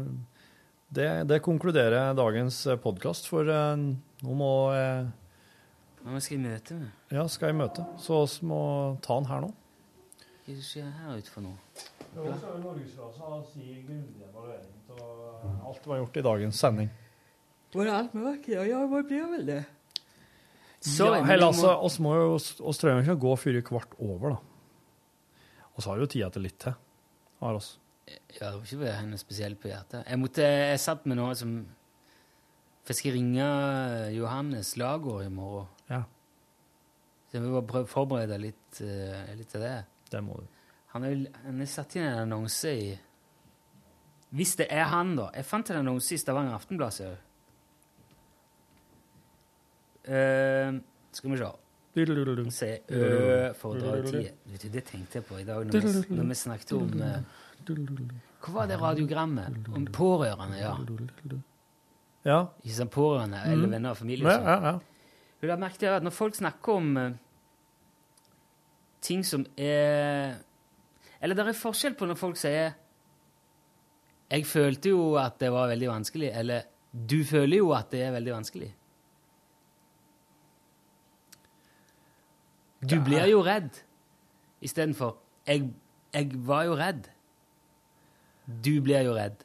Speaker 5: Det, det konkluderer dagens podkast, for eh, nå må eh,
Speaker 2: Nå skal jeg møte meg.
Speaker 5: Ja, skal jeg i møte, så vi må ta den her nå.
Speaker 2: Hva skjer her ute for noe?
Speaker 5: Mm. Alt var gjort i dagens sending.
Speaker 2: Var det alt mørkt? Ja, ja, det blir vel det.
Speaker 5: ja, hei, altså, oss må jo oss trenger ikke å gå før i kvart over, da. Og så har vi jo tida til litt til. Har oss.
Speaker 2: Ja, det var ikke henne spesielt på hjertet. Jeg, måtte, jeg satt med noe som For jeg skal ringe eh, Johannes Lagård i morgen.
Speaker 5: Ja.
Speaker 2: Så jeg må bare prøve å forberede litt, eh, litt av det.
Speaker 5: Det må du.
Speaker 2: Han er, jo- han er satt inn en annonse i Hvis det er han, da. Jeg fant en annonse i Stavanger Aftenblad. ser du. Eh, skal vi se. Se Ø foredragstid. Vet du, Det tenkte jeg på i dag når vi, når vi snakket om eh, Hva var det radiogrammet? Om pårørende, ja.
Speaker 5: Ja.
Speaker 2: Ikke sant, pårørende eller
Speaker 5: Mm.
Speaker 2: venner og familie.
Speaker 5: Ja,
Speaker 2: og sånn.
Speaker 5: ja, ja.
Speaker 2: Jo, da merket jeg at når folk snakker om eh, ting som er Eller det er forskjell på når folk sier 'Jeg følte jo at det var veldig vanskelig', eller 'Du føler jo at det er veldig vanskelig'. Du blir jo redd istedenfor 'Jeg, 'Jeg var jo redd'. Du blir jo redd.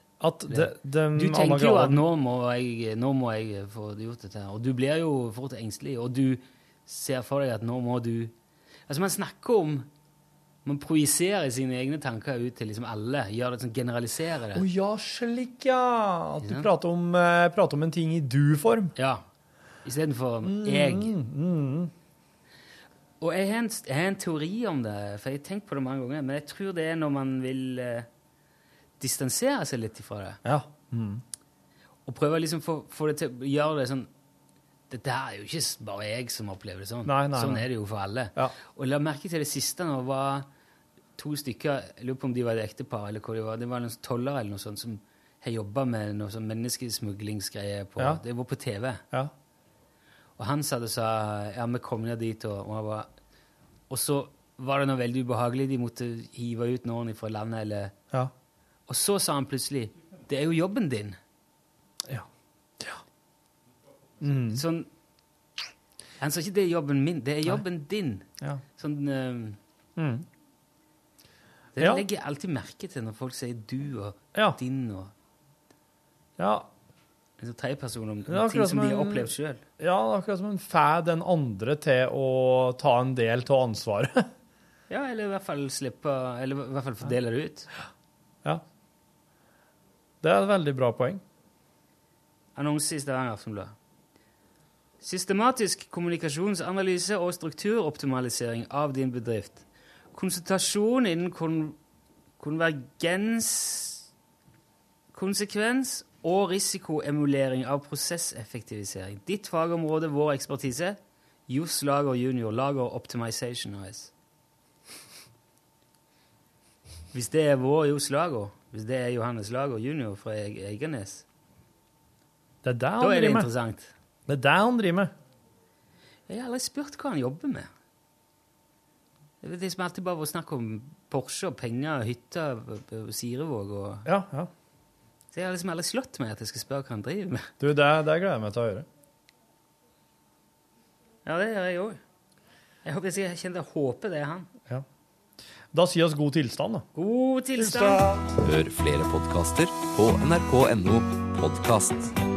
Speaker 5: det- den
Speaker 2: du tenker jo at
Speaker 5: anagramen-
Speaker 2: nå må, jeg, nå må jeg få gjort dette her. Og du blir jo fort engstelig, og du ser for deg at nå må du Altså, man snakker om Man projiserer sine egne tanker ut til liksom alle. Gjør det sånn, generaliserer
Speaker 5: Å
Speaker 2: det.
Speaker 5: ja, slik, ja. At du
Speaker 2: Ja.
Speaker 5: prater om, eh, prater om en ting i du-form. Mm,
Speaker 2: Ja. Istedenfor jeg. Og jeg har, en, jeg har en teori om det, for jeg har tenkt på det mange ganger, men jeg tror det er når man vil eh, distansere seg litt ifra det.
Speaker 5: Ja.
Speaker 2: Og prøve liksom få, få det til å gjøre det sånn Dette her er jo ikke s- bare jeg som opplever det sånn.
Speaker 5: Nei, nei,
Speaker 2: sånn
Speaker 5: nei.
Speaker 2: er det jo for alle. Og la merke til det siste når det var to stykker Jeg lurer på om de var et ektepar, eller hva de var. Det var noen toller eller noe sånt som har jobba med noe sånn menneskesmuglingsgreier på
Speaker 5: Ja.
Speaker 2: Det var på TV.
Speaker 5: Ja.
Speaker 2: Og han satt og sa Ja, vi kom ned dit, og, og han var Og så var det noe veldig ubehagelig. De måtte hive ut noen fra landet, eller
Speaker 5: Ja.
Speaker 2: Og så sa han plutselig Det er jo jobben din.
Speaker 12: Mm.
Speaker 2: Sånn Han sa ikke 'det er jobben min', det er jobben din. Sånn eh,
Speaker 12: Mm.
Speaker 2: Det
Speaker 12: Ja.
Speaker 2: legger jeg alltid merke til når folk sier du og din og
Speaker 12: Ja.
Speaker 2: Altså tredjeperson om
Speaker 12: Det er
Speaker 2: om ting
Speaker 12: akkurat
Speaker 2: som de
Speaker 12: som en-
Speaker 2: har opplevd sjøl.
Speaker 12: Ja, det er akkurat som en får den andre til å ta en del av ansvaret.
Speaker 2: Ja, eller i hvert fall slippe Eller i hvert fall fordele det ut.
Speaker 12: ja. Det er et veldig bra poeng.
Speaker 2: Annonse i Stavanger Aftenblad. Systematisk kommunikasjonsanalyse og strukturoptimalisering av din bedrift. Konsultasjon innen kon konvergens Konsekvens og risikoemulering av prosesseffektivisering. Ditt fagområde, vår ekspertise. Johs Lager Junior, Lager Optimization AS. Hvis det er vår Johs Lager, hvis det er Johannes Lager Junior fra Eg- Eiganes,
Speaker 12: Det er det han
Speaker 2: da er det
Speaker 12: driver med.
Speaker 2: interessant.
Speaker 12: Det er det han driver med.
Speaker 2: Jeg har aldri spurt hva han jobber med. Det er liksom alltid bare å snakke om Porsche og penger og hytter og- og Sirevåg og
Speaker 12: Ja, ja.
Speaker 2: Så jeg har liksom aldri slått meg at jeg skal spørre hva han driver med.
Speaker 12: Du, det, det gleder jeg meg til å høre.
Speaker 2: Ja, det gjør jeg òg. Jeg håper jeg kjenner jeg håper det er han.
Speaker 12: Da si oss god tilstand, da.
Speaker 2: God tilstand!
Speaker 15: Hør flere podkaster på nrk.no podkast.